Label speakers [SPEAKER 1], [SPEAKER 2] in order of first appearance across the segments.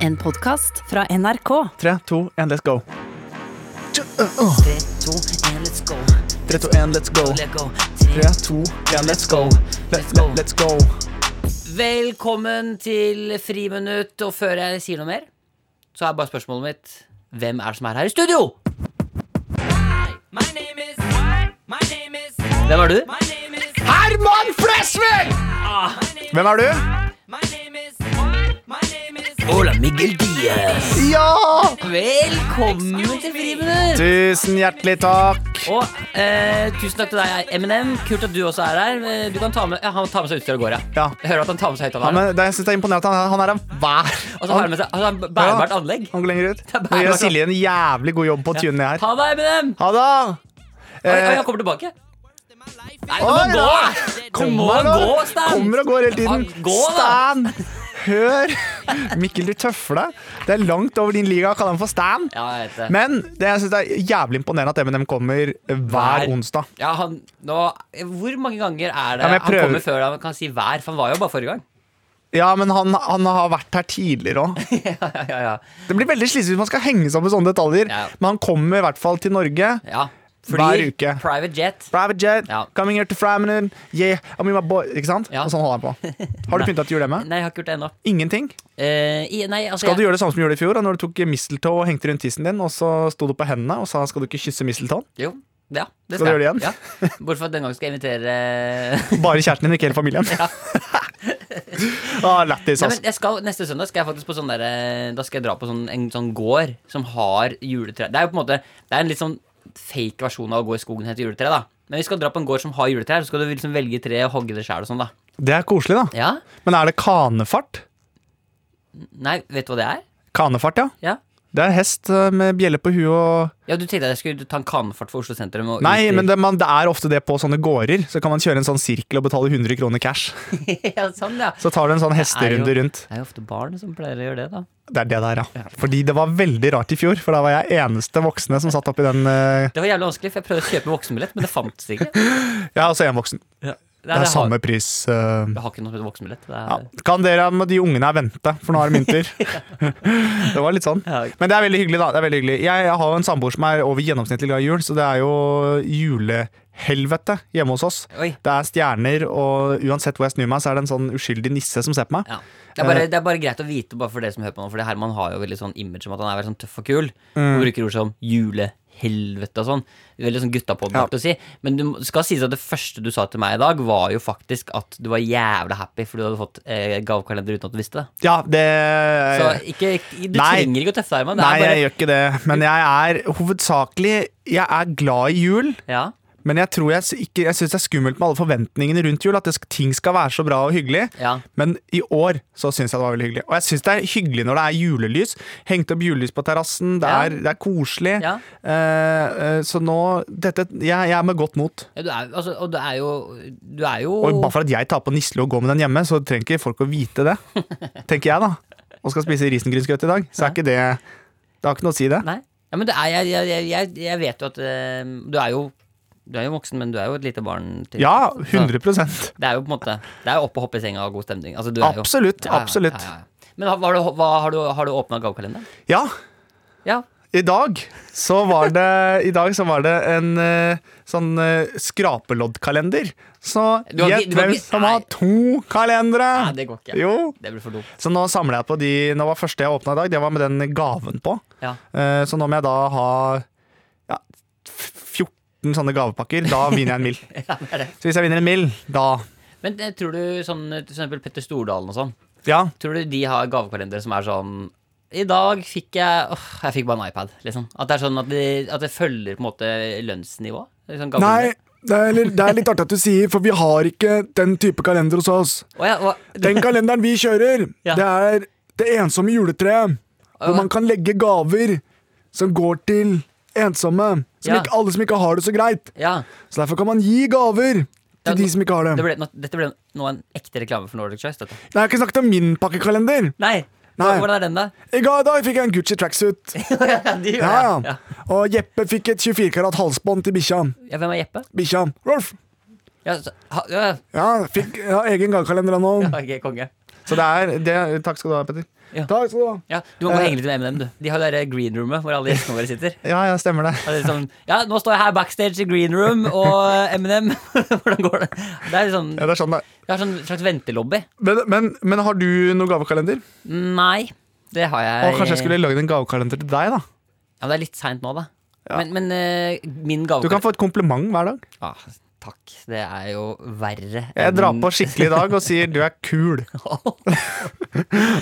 [SPEAKER 1] En podkast fra NRK.
[SPEAKER 2] Tre, to, én, let's go.
[SPEAKER 3] Tre, to, en, let's go.
[SPEAKER 2] Tre, to, én, let's go.
[SPEAKER 3] Let go.
[SPEAKER 2] Tre, to, én, let's go. Let, let, let's go.
[SPEAKER 3] Velkommen til Friminutt. Og før jeg sier noe mer, så er bare spørsmålet mitt Hvem er det som er her i studio? Hvem er du?
[SPEAKER 2] Herman Flesvig! Hvem er du?
[SPEAKER 3] Ola Miguel Diaz.
[SPEAKER 2] Ja!
[SPEAKER 3] Velkommen til Friminutt.
[SPEAKER 2] Tusen hjertelig takk.
[SPEAKER 3] Og eh, tusen takk til deg, Eminem. Kult at du også er her. Eh, Du kan ta med, ja, han tar med seg utstyr og går, ja.
[SPEAKER 2] Ja.
[SPEAKER 3] Jeg hører at han tar med seg
[SPEAKER 2] Ja,
[SPEAKER 3] høyttaleren.
[SPEAKER 2] men det, jeg synes det er imponerende at han, han er av hver.
[SPEAKER 3] Og så har han med seg altså, han bærbart anlegg.
[SPEAKER 2] Han går lenger ut.
[SPEAKER 3] er
[SPEAKER 2] Det
[SPEAKER 3] bærbart.
[SPEAKER 2] gjør Silje en jævlig god jobb på å tune ned her.
[SPEAKER 3] Ha det, Eminem!
[SPEAKER 2] Ha det!
[SPEAKER 3] Oi, oi,
[SPEAKER 2] Eh,
[SPEAKER 3] han kommer tilbake. Nei, du
[SPEAKER 2] Oi,
[SPEAKER 3] må gå!
[SPEAKER 2] nei.
[SPEAKER 3] Du må
[SPEAKER 2] kommer og-
[SPEAKER 3] gå, Stan!
[SPEAKER 2] Kommer og går hele tiden.
[SPEAKER 3] Ja, gå, da.
[SPEAKER 2] Stan! Hør! Mikkel, du tøffer deg. Det er langt over din liga å kalle ham for Stan.
[SPEAKER 3] Ja, jeg vet det.
[SPEAKER 2] Men det, jeg synes det er jævlig imponerende at Eminem kommer hver
[SPEAKER 3] Hver.
[SPEAKER 2] onsdag.
[SPEAKER 3] ja, han, nå, hvor mange ganger er det
[SPEAKER 2] Ja, men jeg
[SPEAKER 3] han
[SPEAKER 2] prøver-
[SPEAKER 3] kommer før han kan si hver? For han var jo bare forrige gang.
[SPEAKER 2] Ja, men han, han har vært her tidligere òg.
[SPEAKER 3] Ja, ja, ja.
[SPEAKER 2] Det blir veldig slitsomt hvis man skal henge seg opp i sånne detaljer.
[SPEAKER 3] Ja.
[SPEAKER 2] Men han kommer i hvert fall til Norge.
[SPEAKER 3] ja.
[SPEAKER 2] Hver uke.
[SPEAKER 3] Private jet.
[SPEAKER 2] Private jet,
[SPEAKER 3] Ja.
[SPEAKER 2] coming here to Framinen, yeah, I mean my boy Ikke sant?
[SPEAKER 3] Ja.
[SPEAKER 2] Og sånn holder han på. Har du pynta til julehjemme?
[SPEAKER 3] Nei, jeg har ikke gjort det ennå.
[SPEAKER 2] Ingenting.
[SPEAKER 3] Eh, i- nei, altså,
[SPEAKER 2] Skal du
[SPEAKER 3] jeg,
[SPEAKER 2] gjøre det samme som du gjorde i fjor? Da når du tok mistletoe og hengte rundt tissen din, og så sto du på hendene og sa 'skal du ikke kysse mistletoen'?
[SPEAKER 3] Jo. Ja, det
[SPEAKER 2] Skal du
[SPEAKER 3] jeg.
[SPEAKER 2] gjøre det igjen?
[SPEAKER 3] Ja. Bortsett fra at denne gangen skal jeg invitere
[SPEAKER 2] Bare kjæresten din, ikke hele familien. ah, Lættis,
[SPEAKER 3] Nei,
[SPEAKER 2] ass.
[SPEAKER 3] men jeg skal, Neste søndag skal jeg faktisk på sånn der, eh, Da skal jeg dra på sånn, en sånn gård som har juletre. Det er jo på en måte Det er en litt sånn fake versjon av å gå i skogen og hente juletre. da Men vi skal dra på en gård som har juletrær, så skal du liksom velge tre og hogge det sjæl og sånn, da.
[SPEAKER 2] Det er koselig, da.
[SPEAKER 3] Ja?
[SPEAKER 2] Men er det kanefart?
[SPEAKER 3] Nei, vet du hva det er?
[SPEAKER 2] Kanefart, ja.
[SPEAKER 3] Ja?
[SPEAKER 2] Det er en hest eh, med bjelle på huet og
[SPEAKER 3] Ja, Du tenkte jeg skulle ta en kanefart for Oslo sentrum? Og
[SPEAKER 2] Nei,
[SPEAKER 3] ut i-
[SPEAKER 2] men det, man, det er ofte det på sånne gårder. Så kan man kjøre en sånn sirkel og betale 100 kroner cash.
[SPEAKER 3] ja, sånn, ja.
[SPEAKER 2] Så tar du en sånn hesterunde
[SPEAKER 3] Det er jo-
[SPEAKER 2] rundt.
[SPEAKER 3] Det er jo ofte barn som pleier å gjøre det, da.
[SPEAKER 2] Det er det der, ja. Fordi det var veldig rart i fjor, for da var jeg eneste voksne som satt oppi den. eh,
[SPEAKER 3] Det var jævlig vanskelig, for jeg prøvde å kjøpe voksenbillett, men det fantes ikke.
[SPEAKER 2] Jeg er også en voksen.
[SPEAKER 3] Ja.
[SPEAKER 2] Det er samme
[SPEAKER 3] Har,
[SPEAKER 2] pris. eh,
[SPEAKER 3] jeg har ikke noe voksenbillett. Det
[SPEAKER 2] Ja.
[SPEAKER 3] er,
[SPEAKER 2] Kan dere med de ungene her vente, for nå er det mynter. det var litt sånn.
[SPEAKER 3] Ja.
[SPEAKER 2] Men det er veldig hyggelig, da. Det er veldig hyggelig. Jeg, jeg har jo en samboer som er over gjennomsnittlig glad i jul, så det er jo julehelvete hjemme hos oss.
[SPEAKER 3] Oi.
[SPEAKER 2] Det er stjerner, og uansett hvor jeg snur meg, så er det en sånn uskyldig nisse som ser på meg.
[SPEAKER 3] Ja. Det, er
[SPEAKER 2] Eh.
[SPEAKER 3] bare, det er bare greit å vite bare for dere som hører på nå, for Herman har jo veldig sånn image om at han er veldig sånn tøff og kul.
[SPEAKER 2] Mm.
[SPEAKER 3] Og bruker ord som julehelvete og sånn. Veldig sånn
[SPEAKER 2] Ja.
[SPEAKER 3] guttapodden-aktig å si. Men det må- skal sies at det første du sa til meg i dag, var jo faktisk at du var jævla happy fordi du hadde fått eh, gavekalender uten at du visste det.
[SPEAKER 2] Ja, det
[SPEAKER 3] Så ikke,
[SPEAKER 2] Eh.
[SPEAKER 3] du
[SPEAKER 2] Nei.
[SPEAKER 3] trenger ikke å tøffe deg, Herman. Det
[SPEAKER 2] Nei,
[SPEAKER 3] er bare
[SPEAKER 2] jeg gjør ikke det. Men jeg er hovedsakelig Jeg er glad i jul.
[SPEAKER 3] ja.
[SPEAKER 2] Men jeg tror jeg, s- ikke, jeg syns det er skummelt med alle forventningene rundt jul. At det, sk- ting skal være så bra og hyggelig.
[SPEAKER 3] Ja.
[SPEAKER 2] Men i år så syns jeg det var veldig hyggelig. Og jeg syns det er hyggelig når det er julelys. Hengt opp julelys på terrassen. Det,
[SPEAKER 3] Ja.
[SPEAKER 2] er- det er koselig.
[SPEAKER 3] Ja.
[SPEAKER 2] Eh, eh, så nå dette, jeg, jeg er med godt mot.
[SPEAKER 3] Ja, du er, altså, og du er jo Du er jo
[SPEAKER 2] Og bare for at jeg tar på nisle og går med den hjemme, så trenger ikke folk å vite det. Tenker jeg, da. Og skal spise risengrynsgrøt i dag. Så er ikke det Det har ikke noe å si, det.
[SPEAKER 3] Nei. Ja, men det er, jeg, jeg, jeg- jeg, jeg vet jo at eh, du er jo du er jo voksen, men du er jo et lite barn. til-
[SPEAKER 2] Ja,
[SPEAKER 3] Så-
[SPEAKER 2] 100
[SPEAKER 3] Det er jo på en måte Det er jo opp og hoppe i senga og god stemning. Altså, du er jo-
[SPEAKER 2] Absolutt. Absolutt.
[SPEAKER 3] ja, ja. Men har, var du, hva, har du, har du åpna gavekalenderen?
[SPEAKER 2] Ja,
[SPEAKER 3] Ja.
[SPEAKER 2] I dag så var det, i dag så var det en eh, sånn eh, skrapeloddkalender. Så
[SPEAKER 3] Du har ikke-
[SPEAKER 2] gjett
[SPEAKER 3] du har
[SPEAKER 2] hvem
[SPEAKER 3] ikke-
[SPEAKER 2] som har
[SPEAKER 3] nei.
[SPEAKER 2] to kalendere!
[SPEAKER 3] Nei, det går ikke.
[SPEAKER 2] Jo.
[SPEAKER 3] Det blir for dumt.
[SPEAKER 2] Så nå samler jeg på de Nå var første jeg åpna i dag, det var med den gaven på.
[SPEAKER 3] Ja.
[SPEAKER 2] Eh, Så nå må jeg da ha ja, 14 sånne gavepakker. Da vinner jeg en mill. Så hvis jeg vinner en mill, da
[SPEAKER 3] Men eh, tror du sånn eh, til eksempel Petter Stordalen og sånn,
[SPEAKER 2] Ja.
[SPEAKER 3] tror du de har gavekalendere som er sånn i dag fikk jeg åh, jeg fikk bare en iPad, liksom. At det er sånn at det, at det følger på en måte lønnsnivået? Sånn gavekalender.
[SPEAKER 2] det er, litt artig at du sier, for vi har ikke den type kalender hos oss.
[SPEAKER 3] Å ja, hva,
[SPEAKER 2] Den kalenderen vi kjører,
[SPEAKER 3] Ja.
[SPEAKER 2] det er Det ensomme juletreet. Hvor
[SPEAKER 3] Ja.
[SPEAKER 2] man kan legge gaver som går til ensomme. Som
[SPEAKER 3] Ja.
[SPEAKER 2] ikke, alle som ikke har det så greit.
[SPEAKER 3] ja.
[SPEAKER 2] Så derfor kan man gi gaver til
[SPEAKER 3] Ja,
[SPEAKER 2] de
[SPEAKER 3] nå-
[SPEAKER 2] som ikke har
[SPEAKER 3] Det
[SPEAKER 2] det.
[SPEAKER 3] ble, nå, dette ble nå en ekte reklame for Nordic Choice. Dette.
[SPEAKER 2] Nei, jeg har ikke snakket om min pakkekalender.
[SPEAKER 3] Nei.
[SPEAKER 2] Nei.
[SPEAKER 3] Hvordan er den, da?
[SPEAKER 2] I går- i dag fikk jeg en Gucci tracksuit.
[SPEAKER 3] ja, de gjør
[SPEAKER 2] Ja,
[SPEAKER 3] det.
[SPEAKER 2] ja. Og Jeppe fikk et 24 karat halsbånd til bikkja.
[SPEAKER 3] Ja, Hvem er Jeppe?
[SPEAKER 2] Bikkja. Rolf.
[SPEAKER 3] Ja, så, ha, ja,
[SPEAKER 2] Ja, fikk ja, egen gavekalender han òg.
[SPEAKER 3] ok, konge.
[SPEAKER 2] Så det er det, Takk skal du ha, Petter.
[SPEAKER 3] Ja.
[SPEAKER 2] Takk skal du ha.
[SPEAKER 3] Ja, Du
[SPEAKER 2] Eh.
[SPEAKER 3] må gå og henge litt med M&M, du. De har det der green roomet hvor alle gjestene våre sitter.
[SPEAKER 2] Ja, ja, stemmer det.
[SPEAKER 3] Og det er sånn, ja, nå står jeg her backstage i green room, og M&M Hvordan går det? Det er sånn,
[SPEAKER 2] Ja, det er sånn det. er.
[SPEAKER 3] jeg har sånn slags ventelobby.
[SPEAKER 2] Men, men, men har du noen gavekalender?
[SPEAKER 3] Nei, det har jeg.
[SPEAKER 2] Og kanskje jeg skulle lagd en gavekalender til deg, da.
[SPEAKER 3] Ja, men Det er litt seint nå, da.
[SPEAKER 2] Ja.
[SPEAKER 3] Men, men eh, min
[SPEAKER 2] Du
[SPEAKER 3] gave
[SPEAKER 2] kan få et kompliment hver dag.
[SPEAKER 3] ah, Takk. Det er jo verre
[SPEAKER 2] Jeg
[SPEAKER 3] enn-
[SPEAKER 2] drar på skikkelig i dag og sier du er kul.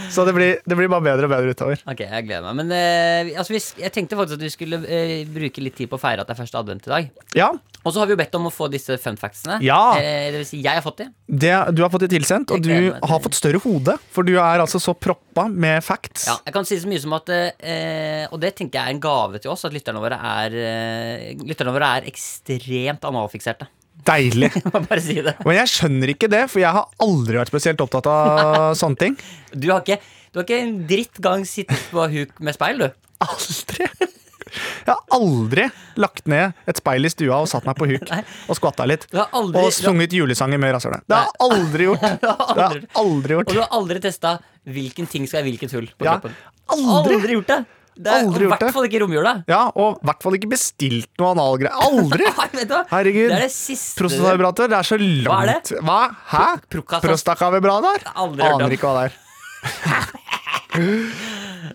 [SPEAKER 2] Så det blir, det blir bare bedre og bedre utover.
[SPEAKER 3] Ok, jeg gleder meg. Men eh, vi- altså, vi, sk- jeg tenkte faktisk at vi skulle eh, bruke litt tid på å feire at det er første advent i dag.
[SPEAKER 2] Ja,
[SPEAKER 3] Og så har vi jo bedt om å få disse fun factsene.
[SPEAKER 2] Ja.
[SPEAKER 3] Eh, det vil si, jeg har fått de.
[SPEAKER 2] det, Du har fått det tilsendt, og
[SPEAKER 3] Jeg
[SPEAKER 2] du
[SPEAKER 3] gleder meg til
[SPEAKER 2] har
[SPEAKER 3] det.
[SPEAKER 2] fått større hode. For du er altså så proppa med facts.
[SPEAKER 3] Ja, jeg kan si så mye som at eh, Og det tenker jeg er en gave til oss, at lytterne våre er, eh, lytterne våre er ekstremt analfikserte.
[SPEAKER 2] Deilig.
[SPEAKER 3] Jeg må Bare si det.
[SPEAKER 2] Men jeg skjønner ikke det, for jeg har aldri vært spesielt opptatt av sånne ting.
[SPEAKER 3] Du har ikke, du har ikke en dritt gang sittet på huk med speil, du.
[SPEAKER 2] Aldri! Jeg har aldri lagt ned et speil i stua og satt meg på huk
[SPEAKER 3] Nei.
[SPEAKER 2] og skvatta litt.
[SPEAKER 3] Du har aldri-
[SPEAKER 2] Og sunget julesanger med rasshølet. Det har jeg aldri gjort. Det har jeg aldri
[SPEAKER 3] Og
[SPEAKER 2] gjort.
[SPEAKER 3] du har aldri testa hvilken ting skal i hvilket hull på
[SPEAKER 2] Ja,
[SPEAKER 3] kroppen.
[SPEAKER 2] aldri.
[SPEAKER 3] gjort det! Det er
[SPEAKER 2] Aldri
[SPEAKER 3] i
[SPEAKER 2] gjort
[SPEAKER 3] hvert
[SPEAKER 2] det.
[SPEAKER 3] fall ikke i romjula.
[SPEAKER 2] Ja, og i hvert fall ikke bestilt noe analgreier. Aldri!
[SPEAKER 3] Nei, vet du hva?
[SPEAKER 2] Herregud.
[SPEAKER 3] Det er det siste
[SPEAKER 2] Prostatavibrator, det er så langt
[SPEAKER 3] Hva er
[SPEAKER 2] Hva? Hæ?
[SPEAKER 3] Pro- prokassa-
[SPEAKER 2] Prostatavibrator?
[SPEAKER 3] Aldri hørt om.
[SPEAKER 2] Aner ikke hva det er.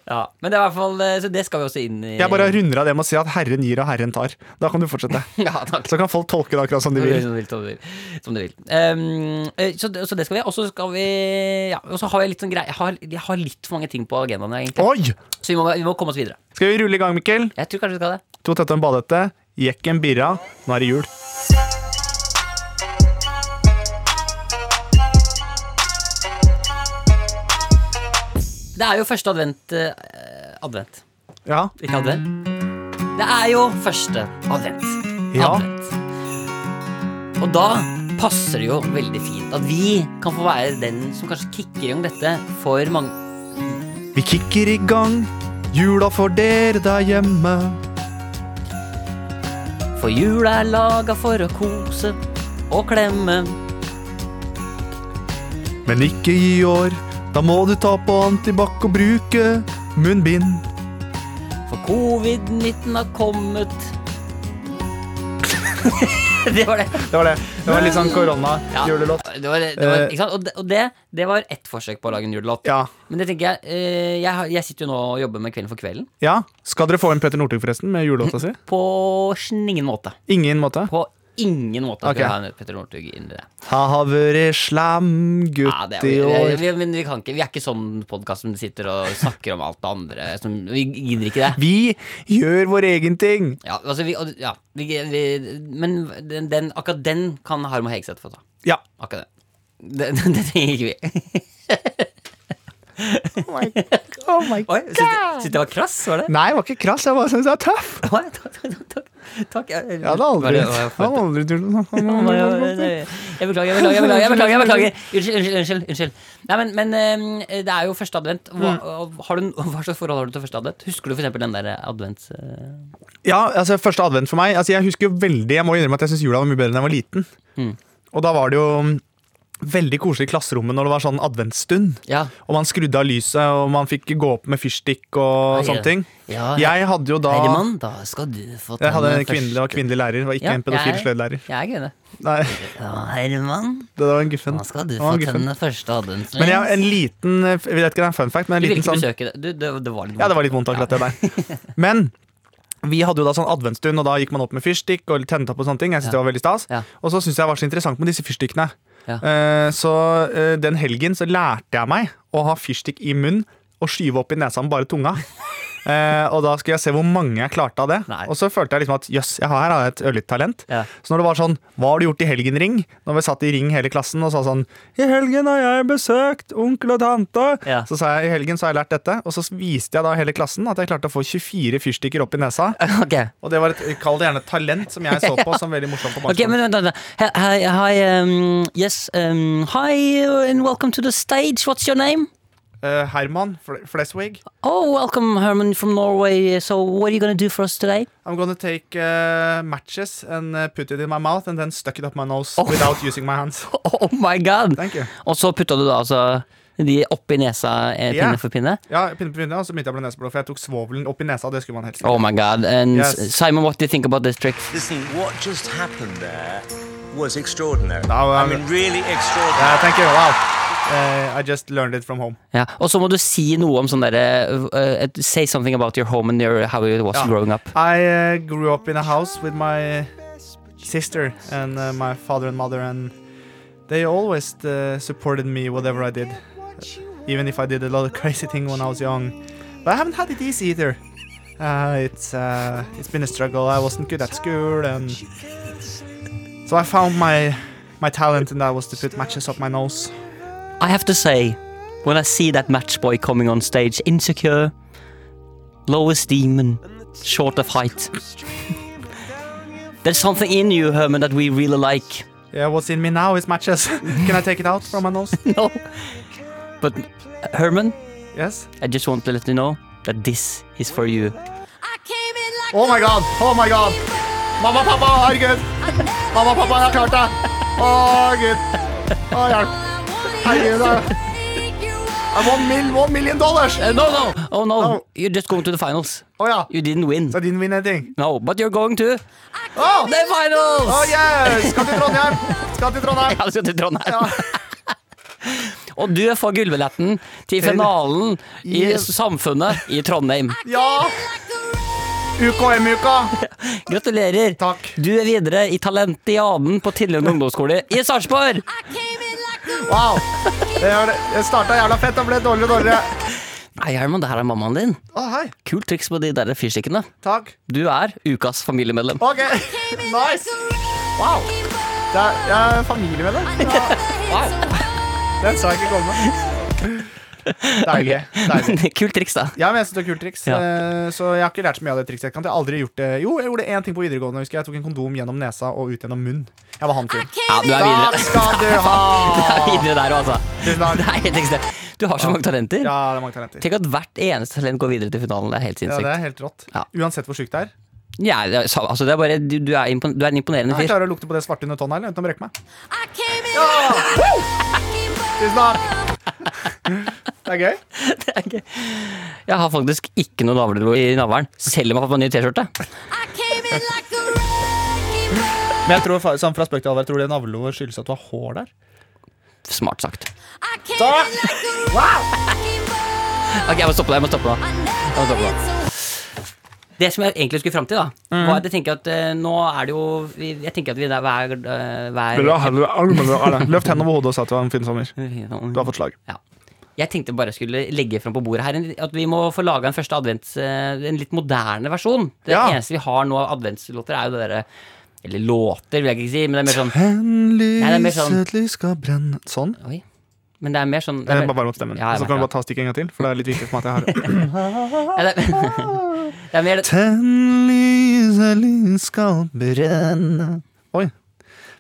[SPEAKER 3] ja, Men det er i hvert fall eh, Så det skal vi også inn i.
[SPEAKER 2] Jeg bare runder av det med å si at Herren gir og Herren tar. Da kan du fortsette.
[SPEAKER 3] Ja, takk.
[SPEAKER 2] Så kan folk tolke det akkurat som de vil.
[SPEAKER 3] Som du vil. Som du vil. Som du vil. Ehm, eh, så, det- så det skal vi. Og så skal vi ja, Og så har jeg litt sånn greie jeg har, jeg har litt for mange ting på agendaen, egentlig.
[SPEAKER 2] Oi!
[SPEAKER 3] Så vi må, vi må komme oss videre.
[SPEAKER 2] Skal vi rulle i gang, Mikkel?
[SPEAKER 3] Jeg tror kanskje vi skal det.
[SPEAKER 2] To tette og en badehette. Jekken birra. Nå er det jul.
[SPEAKER 3] Det er jo første advent eh, Advent.
[SPEAKER 2] Ja.
[SPEAKER 3] Ikke advent. Det er jo første advent.
[SPEAKER 2] Ja.
[SPEAKER 3] Advent. Og da passer det jo veldig fint at vi kan få være den som kanskje kicker i gang dette for mange
[SPEAKER 2] Vi kicker i gang. Jula for dere der hjemme.
[SPEAKER 3] For jula er laga for å kose og klemme.
[SPEAKER 2] Men ikke i år. Da må du ta på antibac og bruke munnbind.
[SPEAKER 3] For covid-19 har kommet. det var det.
[SPEAKER 2] Det var det. Det var litt sånn
[SPEAKER 3] Ja.
[SPEAKER 2] korona-julelåt.
[SPEAKER 3] Det var, det var, ikke sant? Og, det, og det, det var ett forsøk på å lage en julelåt.
[SPEAKER 2] Eh. Ja.
[SPEAKER 3] Men det tenker jeg, eh, jeg har- Jeg sitter jo nå og jobber med Kvelden for kvelden.
[SPEAKER 2] ja. Skal dere få inn Petter Northug, forresten, med julelåta si?
[SPEAKER 3] På ingen måte.
[SPEAKER 2] Ingen måte.
[SPEAKER 3] På ingen måte
[SPEAKER 2] Ok.
[SPEAKER 3] skal vi ha en Petter Northug inn i det.
[SPEAKER 2] Jeg har vært slem
[SPEAKER 3] Ja,
[SPEAKER 2] gutt
[SPEAKER 3] det
[SPEAKER 2] i
[SPEAKER 3] er, vi,
[SPEAKER 2] år.
[SPEAKER 3] vi, men vi, kan ikke, vi er ikke sånn podkast som sitter og snakker om alt det andre. Som, vi gidder ikke det.
[SPEAKER 2] Vi gjør vår egen ting.
[SPEAKER 3] Ja, altså vi, og- ja, vi, vi, men den, den, akkurat den kan Harmo Hegseth få ta.
[SPEAKER 2] Ja.
[SPEAKER 3] Akkurat den. Det, det, det trenger ikke vi. Oh Oi, syns du- syns du det var krass, var det?
[SPEAKER 2] Nei, jeg var ikke krass. Jeg bare syntes jeg er tøff.
[SPEAKER 3] Oi, Takk. takk, takk, takk. Jeg,
[SPEAKER 2] Jeg hadde
[SPEAKER 3] Var
[SPEAKER 2] aldri,
[SPEAKER 3] det-
[SPEAKER 2] jeg
[SPEAKER 3] var jeg for-
[SPEAKER 2] hadde aldri turt å snakke om
[SPEAKER 3] Nei,
[SPEAKER 2] det.
[SPEAKER 3] nei, Jeg beklager, jeg beklager, jeg beklager. Jeg beklager, jeg beklager. Unnskyld, unnskyld. unnskyld, unnskyld. Nei, men, men ehm, det er jo første advent. Hva,
[SPEAKER 2] Mm.
[SPEAKER 3] har du, hva slags forhold har du til første advent? Husker du for eksempel den der advent... eh,
[SPEAKER 2] Ja, altså Første advent for meg altså, Jeg husker jo veldig Jeg må innrømme at jeg syns jula var mye bedre da jeg var liten.
[SPEAKER 3] Mm.
[SPEAKER 2] Og da var det jo um, veldig koselig i klasserommet når det var sånn adventsstund.
[SPEAKER 3] Ja.
[SPEAKER 2] Og man skrudde av lyset, og man fikk gå opp med fyrstikk og
[SPEAKER 3] Nei,
[SPEAKER 2] sånne ting.
[SPEAKER 3] Ja,
[SPEAKER 2] Jeg hadde jo da
[SPEAKER 3] Herman, da skal du få ta
[SPEAKER 2] Jeg hadde en
[SPEAKER 3] den
[SPEAKER 2] kvinnelig, det var
[SPEAKER 3] første-
[SPEAKER 2] kvinnelig lærer, det var ikke
[SPEAKER 3] Ja,
[SPEAKER 2] en pedofil
[SPEAKER 3] jeg-
[SPEAKER 2] sløydlærer.
[SPEAKER 3] Jeg er kvinne.
[SPEAKER 2] Nei,
[SPEAKER 3] Ja, Herman,
[SPEAKER 2] det var en guffen.
[SPEAKER 3] da skal du
[SPEAKER 2] Det
[SPEAKER 3] få
[SPEAKER 2] var en guffen.
[SPEAKER 3] tenne første advent.
[SPEAKER 2] Men jeg, en liten eh, Jeg vet ikke det er en fun fact, men
[SPEAKER 3] Du
[SPEAKER 2] en
[SPEAKER 3] vil
[SPEAKER 2] liten
[SPEAKER 3] ikke
[SPEAKER 2] sånn
[SPEAKER 3] besøke det. Du, det, det var litt
[SPEAKER 2] Ja, det var litt vondt akkurat det der. Men vi hadde jo da sånn adventsstund, og da gikk man opp med fyrstikk og tente opp og sånne ting. Jeg synes det
[SPEAKER 3] Ja.
[SPEAKER 2] var veldig stas.
[SPEAKER 3] Ja.
[SPEAKER 2] Og så syns jeg det var så interessant med disse fyrstikkene.
[SPEAKER 3] Ja.
[SPEAKER 2] Eh, så eh, den helgen så lærte jeg meg å ha fyrstikk i munnen og skyve opp i nesa med bare tunga. Eh, og da skulle jeg se hvor mange jeg klarte av det.
[SPEAKER 3] Nei.
[SPEAKER 2] Og så følte jeg liksom at jøss, jeg har her har jeg et ørlite talent.
[SPEAKER 3] Ja.
[SPEAKER 2] Så når det var sånn Hva har du gjort i helgen, Ring? Når vi satt i Ring hele klassen og sa sånn I helgen har jeg besøkt onkel og tante.
[SPEAKER 3] Ja.
[SPEAKER 2] Så sa jeg i helgen så har jeg lært dette. Og så viste jeg da hele klassen at jeg klarte å få 24 fyrstikker opp i nesa.
[SPEAKER 3] Ok,
[SPEAKER 2] Og det var et, kall det gjerne et talent, som jeg så på som veldig morsomt på
[SPEAKER 3] Ok,
[SPEAKER 2] barneskolen.
[SPEAKER 3] men vent, vent, vent. Hi, hi, hi um, yes, um, hi uh, and welcome to the stage. What's your name?
[SPEAKER 2] Eh, Herman Fle- Fleswig.
[SPEAKER 3] Oh, welcome, Herman from Norway. So, what are you gonna do for us today?
[SPEAKER 2] I'm gonna take eh, matches and eh, put it in my mouth and then stuck it up my nose
[SPEAKER 3] Oh.
[SPEAKER 2] without using my hands.
[SPEAKER 3] Oh my god!
[SPEAKER 2] Thank you.
[SPEAKER 3] Og så putta du da altså De oppi nesa, eh,
[SPEAKER 2] Ja.
[SPEAKER 3] pinne for pinne.
[SPEAKER 2] Ja, pinne på pinne, og så begynte jeg å bli neseblå, for jeg tok svovelen opp i nesa. Det skulle man helst ikke.
[SPEAKER 3] Oh my god. And
[SPEAKER 2] Yes.
[SPEAKER 3] S- Simon, what do you think about this trick?
[SPEAKER 4] Listen, what just happened there was extraordinary.
[SPEAKER 2] No, I
[SPEAKER 4] I mean,
[SPEAKER 2] mean-
[SPEAKER 4] really extraordinary.
[SPEAKER 2] Yeah, thank you. Wow. Eh, I just learned it from home.
[SPEAKER 3] Ja. Og så må du si noe om sånn derre eh, et- Say something about your home and your, how it was
[SPEAKER 2] Ja.
[SPEAKER 3] growing up.
[SPEAKER 2] I uh, grew up in a house with my sister and uh, my father and mother, and they always uh, supported me whatever I did, even if I did a lot of crazy thing when I was young. But I haven't had it easy either. Uh, it's uh, it's been a struggle. I wasn't good at school, and so I found my my talent, and that was to put matches up my nose.
[SPEAKER 3] I have to say, when I see that match boy coming on stage, insecure, lowest demon, short of height. There's something in you, Herman, that we really like.
[SPEAKER 2] Yeah, what's in me now is matches. Can I take it out from my nose?
[SPEAKER 3] No. But, uh, Herman,
[SPEAKER 2] Yes.
[SPEAKER 3] I just want to let you know that this is for you.
[SPEAKER 2] Oh my god, oh my god. Mamma, pappa, herregud. Mamma, pappa, jeg har klart det. Å, gud. Å, hjelp. Herregud. jeg- I won mil, one million dollars.
[SPEAKER 3] Uh,
[SPEAKER 2] Å
[SPEAKER 3] no, no! Oh no,
[SPEAKER 2] Oh.
[SPEAKER 3] you're just going to the finals.
[SPEAKER 2] ja.
[SPEAKER 3] You didn't win.
[SPEAKER 2] Så jeg didn't win anything.
[SPEAKER 3] No, but you're going to
[SPEAKER 2] Å,
[SPEAKER 3] the finals!
[SPEAKER 2] Å, yes. Skal til Trondheim. Skal til Trondheim.
[SPEAKER 3] Ja, du skal til Trondheim.
[SPEAKER 2] Ja.
[SPEAKER 3] Og du får gullbilletten til finalen i
[SPEAKER 2] Yes.
[SPEAKER 3] Samfunnet i Trondheim.
[SPEAKER 2] Ja. UKM-uka.
[SPEAKER 3] Gratulerer.
[SPEAKER 2] Takk.
[SPEAKER 3] Du er videre i Talentiaden på Tillund ungdomsskole i Sarpsborg.
[SPEAKER 2] Wow. Det gjør det. Det starta jævla fett og ble dårligere og dårligere.
[SPEAKER 3] Nei, Herman, det her er mammaen din.
[SPEAKER 2] Å, hei.
[SPEAKER 3] Kult triks på de der fyrstikkene.
[SPEAKER 2] Takk.
[SPEAKER 3] Du er ukas familiemedlem.
[SPEAKER 2] Ok. Nice. Wow. Det er, jeg er familie med deg. Ja. Den sa jeg ikke komme. Deilig. Deilig.
[SPEAKER 3] Kult triks, da.
[SPEAKER 2] Ja, men jeg synes det er kult triks,
[SPEAKER 3] Ja.
[SPEAKER 2] eh, så jeg har ikke lært så mye av det trikset. Jeg kan jeg har aldri gjort det. Jo, jeg gjorde én ting på videregående. husker Jeg Jeg tok en kondom gjennom nesa og ut gjennom munnen. Jeg var han fyren.
[SPEAKER 3] Ja, du er
[SPEAKER 2] Takk
[SPEAKER 3] videre.
[SPEAKER 2] skal du
[SPEAKER 3] Du er
[SPEAKER 2] ha!
[SPEAKER 3] videre der, altså.
[SPEAKER 2] Tusen takk.
[SPEAKER 3] Det er helt ekstremt. Du har så mange talenter.
[SPEAKER 2] Ja, det er mange talenter.
[SPEAKER 3] Tenk at hvert eneste talent går videre til finalen. Det er helt
[SPEAKER 2] Ja, det
[SPEAKER 3] sinnssykt.
[SPEAKER 2] er helt rått.
[SPEAKER 3] Ja.
[SPEAKER 2] Uansett hvor sjukt det er.
[SPEAKER 3] Ja, det er, altså, det er bare, du, du, er impon du er en imponerende
[SPEAKER 2] Jeg
[SPEAKER 3] fyr.
[SPEAKER 2] klarer å lukte på det svarte under tånda eller, uten å brekke meg. Ja! Woo! Tusen takk. Det er gøy.
[SPEAKER 3] Det er gøy. Jeg har faktisk ikke noe navlelo i navlen, selv om jeg har fått meg ny T-skjorte.
[SPEAKER 2] Men jeg tror, fa- sånn fra spøk til alvor, jeg tror det navlehodet skyldes at du har hår der.
[SPEAKER 3] Smart sagt.
[SPEAKER 2] Wow!
[SPEAKER 3] Ok, jeg må stoppe deg. Jeg må stoppe deg. Jeg må stoppe deg. Det som jeg egentlig skulle fram til, da, var at jeg tenker at eh, nå er det jo vi, Jeg tenker at vi der hver, eh, hver
[SPEAKER 2] Løft hendene over hodet og si at det var en fin sommer.
[SPEAKER 3] Mm.
[SPEAKER 2] Du har fått slag.
[SPEAKER 3] Ja. Jeg tenkte bare jeg skulle legge fram på bordet her en- at vi må få laga en første advents... eh, En litt moderne versjon. Det
[SPEAKER 2] Ja.
[SPEAKER 3] eneste vi har nå av adventslåter, er jo det derre Eller låter, vil jeg ikke si, men det er mer sånn
[SPEAKER 2] En lys,
[SPEAKER 3] Nei, det er mer sånn-
[SPEAKER 2] et lys skal brenne Sånn.
[SPEAKER 3] Oi. Men det er mer sånn det
[SPEAKER 2] Jeg
[SPEAKER 3] er
[SPEAKER 2] må
[SPEAKER 3] mer,
[SPEAKER 2] varme opp stemmen.
[SPEAKER 3] Ja,
[SPEAKER 2] og så
[SPEAKER 3] jeg merker
[SPEAKER 2] kan du
[SPEAKER 3] det.
[SPEAKER 2] bare ta stikket en gang til, for det er litt viktig for meg at jeg har
[SPEAKER 3] ja, det, er, det er mer
[SPEAKER 2] Tenn lys, et lys skal brenne Oi.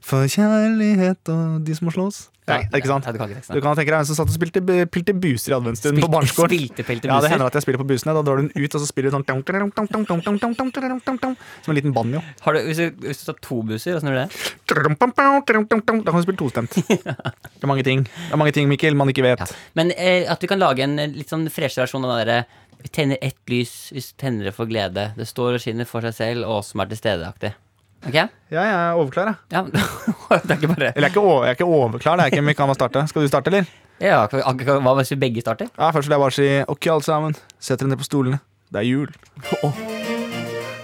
[SPEAKER 2] For kjærlighet og de som må slås. Ja,
[SPEAKER 3] Ja,
[SPEAKER 2] ikke sant?
[SPEAKER 3] ja, du kan ikke teksten.
[SPEAKER 2] Du kan tenke deg hvem som satt og spilte, spilte buser i adventsstund på
[SPEAKER 3] Spilte-
[SPEAKER 2] barneskolen.
[SPEAKER 3] spilte Pelte
[SPEAKER 2] Ja, det
[SPEAKER 3] Buser?
[SPEAKER 2] hender at jeg spiller på busene. Da drar du den ut, og så spiller du sånn Som en liten banjo.
[SPEAKER 3] Har du, hvis, du, hvis du tar to busser, åssen gjør du det?
[SPEAKER 2] Da kan du spille tostemt. Det er mange ting Det er mange ting, Mikkel, man ikke vet.
[SPEAKER 3] Men eh, at vi kan lage en eh, litt sånn freshere versjon av den derre vi tenner ett lys hvis tennere får glede. Det står og skinner for seg selv og oss som er til stede-aktig. Ok?
[SPEAKER 2] Ja, jeg er overklar, jeg.
[SPEAKER 3] Ja, men- det er ikke bare
[SPEAKER 2] Eller jeg er ikke, over, jeg er ikke overklar. Det er ikke vi kan bare starte. Skal du starte, eller?
[SPEAKER 3] ja, ak- ak- ak- Hva hvis vi begge starter?
[SPEAKER 2] Ja, Først vil jeg bare si ok, alle sammen. Sett dere ned på stolene. Det er jul.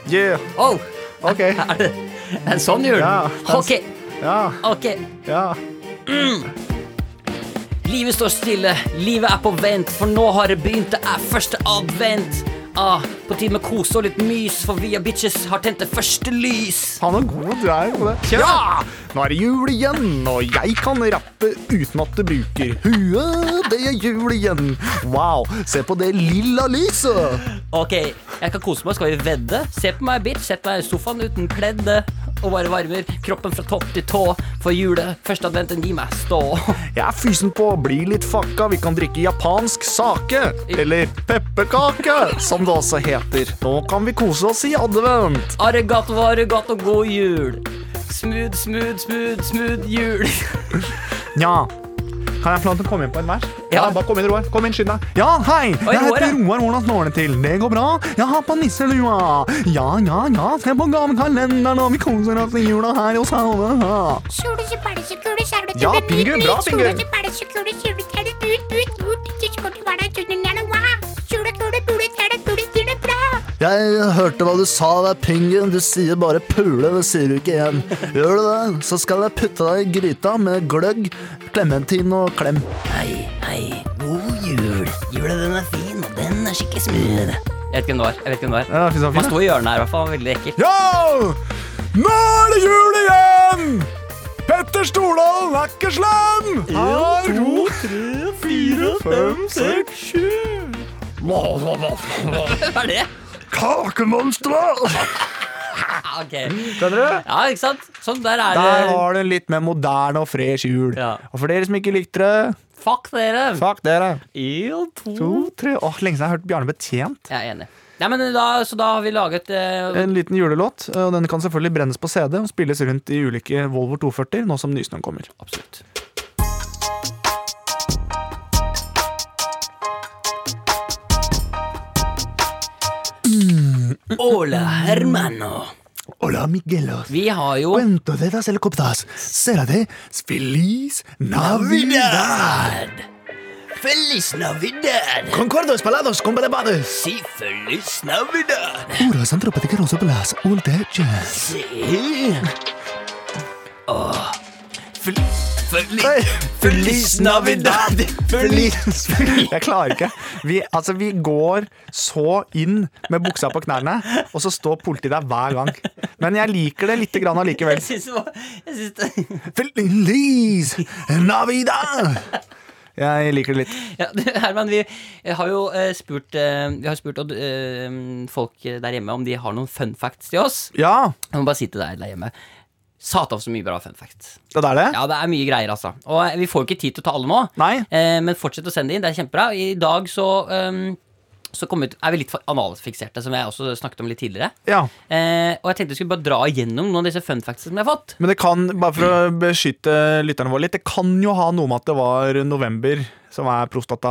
[SPEAKER 2] Yeah.
[SPEAKER 3] Oh,
[SPEAKER 2] Ok.
[SPEAKER 3] er det er det sånn jul?
[SPEAKER 2] Ja.
[SPEAKER 3] Ok,
[SPEAKER 2] Ja.
[SPEAKER 3] ok.
[SPEAKER 2] Ja.
[SPEAKER 3] Livet står stille, livet er på vent, for nå har det begynt, det er første advent. Ah, på tide med kose og litt mys, for vi og bitches har tent det første lys.
[SPEAKER 2] Han er god du er på det. Ja! Nå er det jul igjen, og jeg kan rappe uten at du bruker huet. Det er jul igjen. Wow. Se på det lilla lyset.
[SPEAKER 3] Ok, jeg kan kose meg. Skal vi vedde? Se på meg, bitch. Sett meg i sofaen uten pledd og bare varmer kroppen fra topp til tå. For jule, første adventen, gi meg stå.
[SPEAKER 2] Jeg er fysen på bli litt fucka. Vi kan drikke japansk sake. Eller pepperkake, som det også heter. Nå kan vi kose oss i advent.
[SPEAKER 3] Arigato, arigato, god jul. Smooth, smooth, smooth, smooth jul.
[SPEAKER 2] Nja, Kan jeg få lov til å komme inn på en vers?
[SPEAKER 3] Ja.
[SPEAKER 2] bare kom inn, Roar. Kom inn, skynd deg. Ja, hei! jeg
[SPEAKER 3] Roar,
[SPEAKER 2] heter
[SPEAKER 3] ja.
[SPEAKER 2] Roar. Hvordan står det til? Det går bra. Jeg har på nisselua. Ja, ja, ja. Se på gavekalenderen, og vi koser oss i jula her hos alle. Ja, Pingu, bra, Pingu.
[SPEAKER 5] Jeg hørte hva du sa, det er pingen. Du sier bare pule, det sier du ikke igjen. Gjør du det, så skal jeg putte deg i gryta med gløgg, klementin og klem.
[SPEAKER 6] Hei, hei. God jul. Jula den er fin, og den er skikkelig smooth.
[SPEAKER 3] Jeg vet ikke hvem det var. jeg vet ikke hvem det
[SPEAKER 2] Ja, det
[SPEAKER 3] var
[SPEAKER 2] er fint, så
[SPEAKER 3] Han
[SPEAKER 2] fint,
[SPEAKER 3] sto i hjørnet her, i hvert fall. Han var Veldig ekkel.
[SPEAKER 2] Yo! Nå er det jul igjen! Petter Stordalen er ikke slem! Her, to, tre, fire, fem, seks, sju
[SPEAKER 3] Hva er det?
[SPEAKER 5] Kakemonstre!
[SPEAKER 3] Ja, ok.
[SPEAKER 2] Skjønner du?
[SPEAKER 3] Ja, ikke sant? Sånn, der er
[SPEAKER 2] Der
[SPEAKER 3] det.
[SPEAKER 2] har du en litt mer moderne og fresh jul.
[SPEAKER 3] Ja.
[SPEAKER 2] Og for dere som ikke likte det,
[SPEAKER 3] Fuck dere.
[SPEAKER 2] fuck dere.
[SPEAKER 3] En, to
[SPEAKER 2] To, tre Åh, Lenge siden jeg har hørt Bjarne Betjent.
[SPEAKER 3] Jeg er enig. Nei, men da, så da har vi laget eh,
[SPEAKER 2] En liten julelåt. Og den kan selvfølgelig brennes på CD og spilles rundt i ulike Volvo 240 nå som Nysnøen kommer.
[SPEAKER 3] Absolutt.
[SPEAKER 6] Hola, hermano.
[SPEAKER 5] Hola, Miguelos.
[SPEAKER 3] Vi har jo
[SPEAKER 5] Cuento de las helicópteras. Será de Feliz Navidad.
[SPEAKER 6] Feliz Navidad.
[SPEAKER 5] Concuerdo, espalados, compadres.
[SPEAKER 6] Si feliz Navidad.
[SPEAKER 5] Uras antropaticanos oblas, ulteches.
[SPEAKER 6] Si. Åh. Fel- Oh. Feliz,
[SPEAKER 5] Hey.
[SPEAKER 6] feliz Navidad. Feliz
[SPEAKER 2] Jeg klarer ikke. Vi, altså, vi går så inn med buksa på knærne, og så står politiet der hver gang. Men jeg liker det lite grann allikevel.
[SPEAKER 3] Jeg syns det var jeg syns det,
[SPEAKER 5] Feliz Navidad.
[SPEAKER 2] Jeg liker det litt.
[SPEAKER 3] ja, du, Herman, vi har jo eh, spurt, eh, vi har spurt Odd, eh, folk der hjemme om de har noen fun facts til oss.
[SPEAKER 2] Ja,
[SPEAKER 3] Jeg må bare si til deg der hjemme Satan, så mye bra fun facts.
[SPEAKER 2] det er det.
[SPEAKER 3] Ja, det er mye greier, altså. Og vi får jo ikke tid til å ta alle nå.
[SPEAKER 2] Nei.
[SPEAKER 3] Eh, men fortsett å sende det inn. Det er kjempebra. I dag så, ehm, så kom vi ut, er vi litt for analfikserte, som jeg også snakket om litt tidligere.
[SPEAKER 2] Ja.
[SPEAKER 3] Eh, og jeg tenkte vi skulle bare dra igjennom noen av disse fun factsene som jeg har fått.
[SPEAKER 2] Men det kan, bare for å beskytte lytterne våre litt, det kan jo ha noe med at det var november som er prostata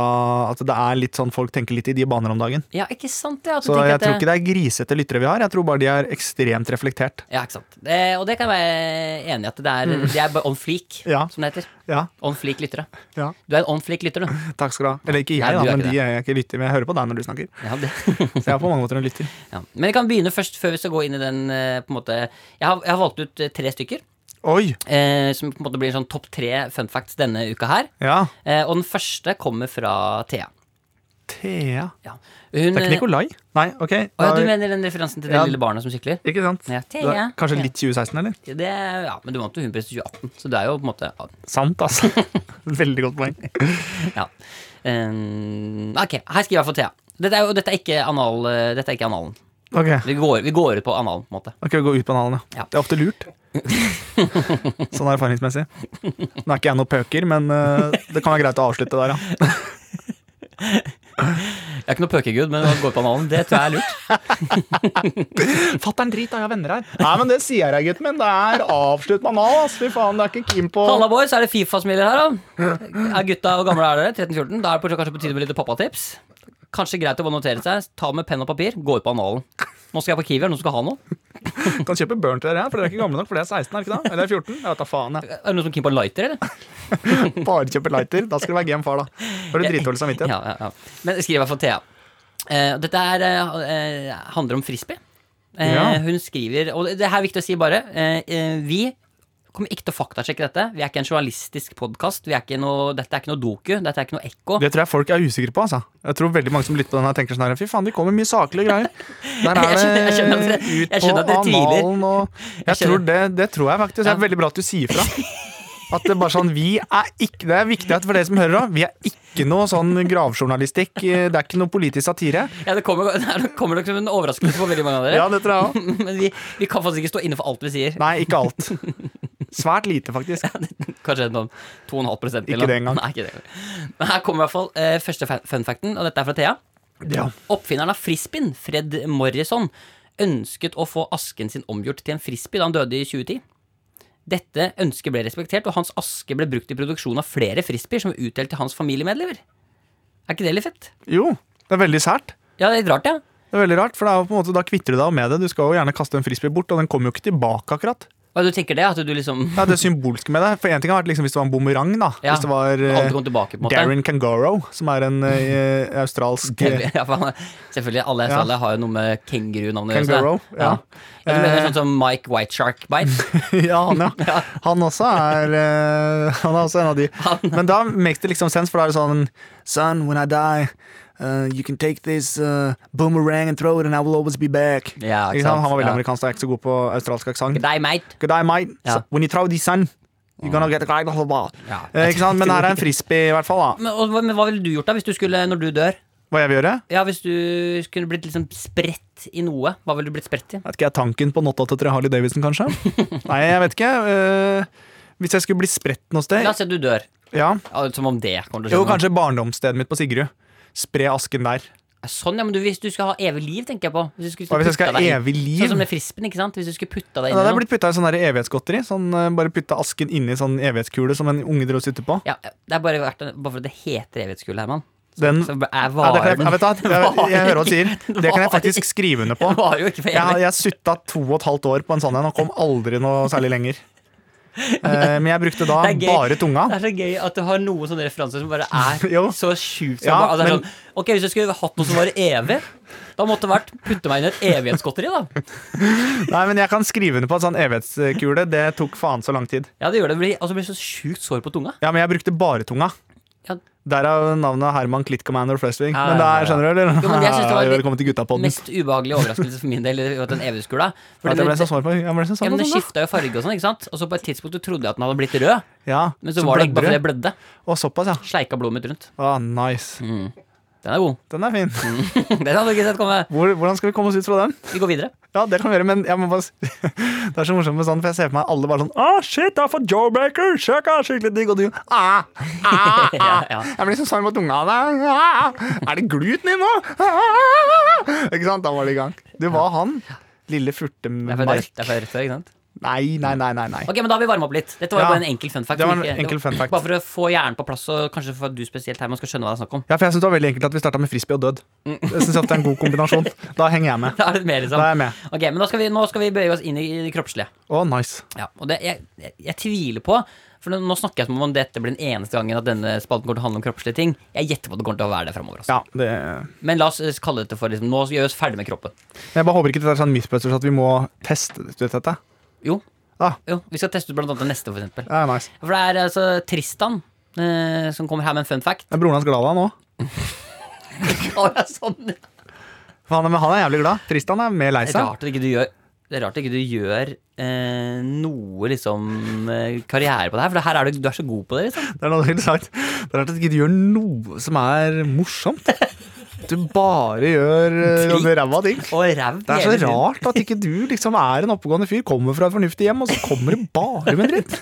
[SPEAKER 2] At det er litt sånn folk tenker litt i de baner om dagen.
[SPEAKER 3] Ja, ikke sant? Ja, at du
[SPEAKER 2] Så
[SPEAKER 3] tenker
[SPEAKER 2] jeg
[SPEAKER 3] at
[SPEAKER 2] tror ikke det er grisete lyttere vi har, jeg tror bare de er ekstremt reflektert.
[SPEAKER 3] Ja, ikke sant. Det, og det kan jeg være enig i at det er. Det er bare on fleak,
[SPEAKER 2] Mm. Ja.
[SPEAKER 3] som det heter.
[SPEAKER 2] Ja,
[SPEAKER 3] On fleak lyttere.
[SPEAKER 2] ja,
[SPEAKER 3] Du er en on fleak lytter, du.
[SPEAKER 2] takk skal du ha. Eller ikke jeg,
[SPEAKER 3] Nei, du
[SPEAKER 2] da,
[SPEAKER 3] er
[SPEAKER 2] men
[SPEAKER 3] ikke
[SPEAKER 2] de er jeg ikke lytter, men jeg hører på deg når du snakker.
[SPEAKER 3] Ja, det.
[SPEAKER 2] Så jeg er på mange måter en lytter.
[SPEAKER 3] Ja. Men jeg kan begynne først, før vi skal gå inn i den eh, på en måte Jeg har, jeg har valgt ut eh, tre stykker.
[SPEAKER 2] Oi!
[SPEAKER 3] eh, som på en måte blir en sånn topp tre fun facts denne uka her.
[SPEAKER 2] Ja.
[SPEAKER 3] Eh, og den første kommer fra Thea.
[SPEAKER 2] Thea
[SPEAKER 3] Ja. Hun,
[SPEAKER 2] Det er ikke Nikolai? Nei, OK.
[SPEAKER 3] Å, ja,
[SPEAKER 2] da-
[SPEAKER 3] du mener den referansen til det
[SPEAKER 2] Ja.
[SPEAKER 3] lille barnet som sykler?
[SPEAKER 2] ikke sant?
[SPEAKER 3] Ja, Thea.
[SPEAKER 2] Det er Kanskje litt 2016, eller?
[SPEAKER 3] Det, er- ja, men du vant jo Humprest i 2018, så det er jo på en måte ja,
[SPEAKER 2] Sant, altså. Veldig godt poeng.
[SPEAKER 3] ja. Um, Ok, her skriver jeg for Thea. Dette er jo dette er ikke, anal, eh, dette er ikke analen.
[SPEAKER 2] Ok,
[SPEAKER 3] Vi går, vi går ut på analen, på en måte.
[SPEAKER 2] Ok, vi går ut på analen, ja.
[SPEAKER 3] Ja.
[SPEAKER 2] Det er ofte lurt. Sånn erfaringsmessig. Nå er ikke jeg noen pøker, men eh, det kan være greit å avslutte der, ja.
[SPEAKER 3] Jeg er ikke noe pøkegud, men å gå ut på analen, det tror jeg er lurt.
[SPEAKER 2] Fatter'n drit, da. Jeg har venner her. Nei, men det sier jeg, gutten min. Det er avslutt med anal, ass. Fy faen, det er ikke Kim på
[SPEAKER 3] Halla, boys, er det Fifa som gjelder her, da? Er gutta hvor gamle er dere? 13-14? Da er det på- kanskje på tide med litt pappatips? Kanskje greit å bare notere seg. Ta med penn og papir, gå ut på analen. Nå skal jeg på Kiwi, er det noen som skal ha noe?
[SPEAKER 2] Kan kjøpe burn til dere, her, for dere er ikke gamle nok, for dere er 16, er dere ikke da? Eller 14? Jeg vet da faen, jeg.
[SPEAKER 3] Er det noen som er keen på en lighter, eller?
[SPEAKER 2] Bare kjøpe lighter. Da skal du være game far, da. Har du dritdårlig samvittighet?
[SPEAKER 3] Ja, ja, ja. Men skriv i hvert fall Thea. Eh, dette er, eh, eh, handler om frisbee. Eh,
[SPEAKER 2] Ja.
[SPEAKER 3] Hun skriver Og det det her er viktig å si bare. eh, eh, vi kommer ikke til å faktasjekke dette. Vi er ikke en journalistisk podkast. Dette er ikke noe doku. Dette er ikke noe ekko.
[SPEAKER 2] Det tror jeg folk er usikre på. altså Jeg tror veldig mange som lytter på den her tenker sånn her Fy faen, de kommer med mye saklige greier. Der
[SPEAKER 3] Jeg skjønner- jeg
[SPEAKER 2] er
[SPEAKER 3] skjønner
[SPEAKER 2] det
[SPEAKER 3] at dere-
[SPEAKER 2] ut
[SPEAKER 3] jeg skjønner at
[SPEAKER 2] på
[SPEAKER 3] dere tviler.
[SPEAKER 2] analen og Jeg tror
[SPEAKER 3] skjønner.
[SPEAKER 2] det, det tror jeg faktisk. Det er
[SPEAKER 3] Ja.
[SPEAKER 2] veldig bra at du sier fra. At det bare sånn Vi er ikke Det er viktig at for dere som hører òg, vi er ikke noe sånn gravjournalistikk. eh, Det er ikke noe politisk satire.
[SPEAKER 3] Ja, det kommer, det kommer nok som en overraskelse for veldig mange av dere.
[SPEAKER 2] Ja, det tror jeg òg.
[SPEAKER 3] Men vi, vi kan faktisk ikke stå inne for alt vi sier.
[SPEAKER 2] Nei, ikke alt. Svært lite, faktisk.
[SPEAKER 3] Kanskje sånn noen 2,5
[SPEAKER 2] Ikke det engang.
[SPEAKER 3] Nei, ikke det engang. Men her kommer i hvert fall eh, første fa- fun facten, og dette er fra Thea.
[SPEAKER 2] Ja.
[SPEAKER 3] Oppfinneren av frisbeen, Fred Morrison, ønsket å få asken sin omgjort til en frisbee da han døde i 2010. Dette ønsket ble respektert, og hans aske ble brukt i produksjon av flere frisbeer som var utdelt til hans familiemedlemmer. Er ikke det litt fett?
[SPEAKER 2] Jo, det er veldig sært.
[SPEAKER 3] Ja, det er litt rart, ja.
[SPEAKER 2] Det er veldig rart, for det er jo på en måte, Da kvitter du deg av med det. Du skal jo gjerne kaste en frisbee bort, og den kommer jo ikke tilbake. akkurat
[SPEAKER 3] Hva du tenker det? At du liksom
[SPEAKER 2] Det er det symbolske med det. For en ting har vært liksom, Hvis det var en bumerang, da.
[SPEAKER 3] Ja,
[SPEAKER 2] Hvis det var eh,
[SPEAKER 3] aldri kom tilbake, på en måte.
[SPEAKER 2] Darren Kangaro, som er en eh, australsk eh,
[SPEAKER 3] Ja, faen, Selvfølgelig. Alle i Australia har jo noe med kengurunavnet å gjøre, så det-
[SPEAKER 2] Kangaro, ja. Eh.
[SPEAKER 3] Ja, Du mener sånn som Mike Whiteshark-bite?
[SPEAKER 2] Ja, han, ja. Han også er eh, Han er også en av de. Men da makes det liksom sense, for da er det sånn Son, when I die uh, you can take this uh, boomerang and throw it, and I will always be back.
[SPEAKER 3] Ja,
[SPEAKER 2] Ikke
[SPEAKER 3] ikke
[SPEAKER 2] sant? Han var veldig
[SPEAKER 3] sant? Ja.
[SPEAKER 2] amerikansk, jeg er ikke så god på australsk aksent.
[SPEAKER 3] Deg, mate.
[SPEAKER 2] Good day, mate.
[SPEAKER 3] Ja. Mm.
[SPEAKER 2] So, when you throw this son, you're gonna get a guy blah, blah.
[SPEAKER 3] Ja.
[SPEAKER 2] Eh, Ikke sant? Men her er en frisbee, i hvert fall. da
[SPEAKER 3] Men, og, hva- men hva ville du gjort da, hvis du skulle, når du dør?
[SPEAKER 2] Hva jeg vil gjøre?
[SPEAKER 3] Ja, Hvis du skulle blitt liksom spredt i noe, hva ville du blitt spredt i?
[SPEAKER 2] Vet ikke jeg tanken på Not 83 Harley Davidson, kanskje? Nei, jeg vet ikke. Eh, hvis jeg skulle bli spredt noe sted
[SPEAKER 3] La oss si at du dør.
[SPEAKER 2] Ja.
[SPEAKER 3] Ja, Som om det kommer til
[SPEAKER 2] Jo,
[SPEAKER 3] å skje.
[SPEAKER 2] kanskje barndomsstedet mitt på Sigrud. Spre asken der.
[SPEAKER 3] noe. Sånn, ja, men du, Hvis du skal ha evig liv, tenker jeg på. Hvis du skulle
[SPEAKER 2] Hva hvis jeg
[SPEAKER 3] putta
[SPEAKER 2] skal ha
[SPEAKER 3] deg inn.
[SPEAKER 2] evig liv?
[SPEAKER 3] Sånn som med frispen, ikke sant? Hvis du skulle putta deg
[SPEAKER 2] Ja, Da
[SPEAKER 3] inn
[SPEAKER 2] hadde
[SPEAKER 3] i
[SPEAKER 2] jeg
[SPEAKER 3] noe.
[SPEAKER 2] blitt putta i sånn der evighetsgodteri. Sånn, eh, bare putta asken inni sånn evighetskule som en unge drev og suttet på.
[SPEAKER 3] Ja, det er bare, verdt, bare for at det heter evighetsgull, Herman.
[SPEAKER 2] Den,
[SPEAKER 3] Så er
[SPEAKER 2] Mm. ja, det kan
[SPEAKER 3] varen
[SPEAKER 2] jeg, jeg, vet, da, jeg, jeg, jeg hører hva du sier.
[SPEAKER 3] Den
[SPEAKER 2] Det kan jeg
[SPEAKER 3] varer
[SPEAKER 2] faktisk
[SPEAKER 3] ikke.
[SPEAKER 2] skrive under på.
[SPEAKER 3] Den varer jo ikke for
[SPEAKER 2] Jeg, har-
[SPEAKER 3] evig.
[SPEAKER 2] jeg sutta to og et halvt år på en sånn en og kom aldri noe særlig lenger. Eh, men jeg brukte da
[SPEAKER 3] Det er gøy.
[SPEAKER 2] bare tunga.
[SPEAKER 3] Det er så gøy at du har noen sånne referanser som bare er
[SPEAKER 2] Jo.
[SPEAKER 3] så sjukt.
[SPEAKER 2] Ja,
[SPEAKER 3] Ja,
[SPEAKER 2] men-
[SPEAKER 3] sånn, ok, Hvis jeg skulle hatt noe som var evig, da måtte det vært putte meg inn i et evighetsgodteri. da
[SPEAKER 2] Nei, men jeg kan skrive under på at sånn evighetskule, det tok faen så lang tid.
[SPEAKER 3] Ja, det gjør det. det blir, altså, det blir så sjukt sår på tunga.
[SPEAKER 2] Ja, men jeg brukte bare tunga.
[SPEAKER 3] Ja.
[SPEAKER 2] Derav navnet Herman Klitt Commander Flesvig.
[SPEAKER 3] Ja,
[SPEAKER 2] Men det
[SPEAKER 3] ja, ja.
[SPEAKER 2] er, skjønner du, eller?
[SPEAKER 3] Jo, men jeg synes det var
[SPEAKER 2] Hei,
[SPEAKER 3] litt-
[SPEAKER 2] Velkommen til guttapodden.
[SPEAKER 3] Mest ubehagelige overraskelse for min del var den evighetsgula.
[SPEAKER 2] At jeg ble så
[SPEAKER 3] den,
[SPEAKER 2] sår på jeg ble så
[SPEAKER 3] ja,
[SPEAKER 2] sår
[SPEAKER 3] men
[SPEAKER 2] på
[SPEAKER 3] den
[SPEAKER 2] tunga.
[SPEAKER 3] skifta jo farge og sånn, ikke sant. Og så på et tidspunkt du trodde jeg at den hadde blitt rød,
[SPEAKER 2] Ja,
[SPEAKER 3] men så, var det ikke bare fordi det blødde.
[SPEAKER 2] Å, såpass, ja.
[SPEAKER 3] Sleika blodet mitt rundt.
[SPEAKER 2] Å, nice.
[SPEAKER 3] Mm. Den er god.
[SPEAKER 2] Den er fin.
[SPEAKER 3] Mm. Den hadde du ikke sett komme.
[SPEAKER 2] Hvor, hvordan skal vi komme oss ut fra den?
[SPEAKER 3] Vi går videre.
[SPEAKER 2] Ja, det kan vi gjøre, men jeg må bare s- Det er så morsomt med sånn, for jeg ser for meg alle bare sånn Å, shit, jeg har fått Joe Baker! Sjekk, jeg er skikkelig digg! Og du ah, ah, ah.
[SPEAKER 3] Ja, ja.
[SPEAKER 2] Jeg blir så sår på tunga. da. Ah, er det gluten i nå? Ah. Ikke sant? Da var det i gang. Du var han. Lille
[SPEAKER 3] Det er fra
[SPEAKER 2] furtemark.
[SPEAKER 3] rett- det er fra rett før, ikke sant.
[SPEAKER 2] Nei, nei, nei, nei. nei.
[SPEAKER 3] Ok, men Da har vi varma opp litt. Dette var jo
[SPEAKER 2] Ja.
[SPEAKER 3] bare en enkel fun fact.
[SPEAKER 2] Det var en
[SPEAKER 3] Ikke-
[SPEAKER 2] enkel fun fact.
[SPEAKER 3] Bare for å få hjernen på plass, og kanskje for at du spesielt her, man skal skjønne hva det er snakk om.
[SPEAKER 2] Ja, for jeg synes det var veldig enkelt at vi starta med frisbee og død.
[SPEAKER 3] Mm.
[SPEAKER 2] Jeg synes at det er en god kombinasjon. Da henger jeg med.
[SPEAKER 3] Da er det mer, liksom.
[SPEAKER 2] Da er jeg med.
[SPEAKER 3] Ok, men da skal vi, Nå skal vi bøye oss inn i, i det kroppslige.
[SPEAKER 2] Å, nice.
[SPEAKER 3] Ja, og det, jeg, jeg, jeg tviler på For nå- nå snakker jeg som om dette blir den eneste gangen at denne spalten kommer til å handle om kroppslige ting. Jeg gjetter på at det kommer til å være det fremover også.
[SPEAKER 2] Ja, det
[SPEAKER 3] Men la oss eh, kalle dette for liksom, Nå gjør vi oss ferdig med kroppen.
[SPEAKER 2] Jeg bare håper ikke det er sånn mythbusters at vi må teste ut dette.
[SPEAKER 3] Jo,
[SPEAKER 2] Ah,
[SPEAKER 3] jo, vi skal teste ut blant annet det neste, for eksempel.
[SPEAKER 2] det er nice.
[SPEAKER 3] For det er altså Tristan eh, som kommer her med en fun fact.
[SPEAKER 2] Er broren hans glad av nå?
[SPEAKER 3] Å, ja, sånn.
[SPEAKER 2] Faen, men han er jævlig glad. Tristan er mer lei
[SPEAKER 3] Det er
[SPEAKER 2] seg.
[SPEAKER 3] rart at ikke du gjør det er rart at ikke du gjør eh, noe liksom eh, karriere på det her, for det her er du, du er så god på det. liksom
[SPEAKER 2] Det er noe helt sagt. Det er rart at ikke du gjør noe som er morsomt. Du bare gjør eh,
[SPEAKER 3] Drit.
[SPEAKER 2] ræva ting.
[SPEAKER 3] Og ræv.
[SPEAKER 2] Det
[SPEAKER 3] hele
[SPEAKER 2] er så
[SPEAKER 3] tiden.
[SPEAKER 2] rart at ikke du liksom er en oppegående fyr, kommer fra et fornuftig hjem, og så kommer du bare med dritt.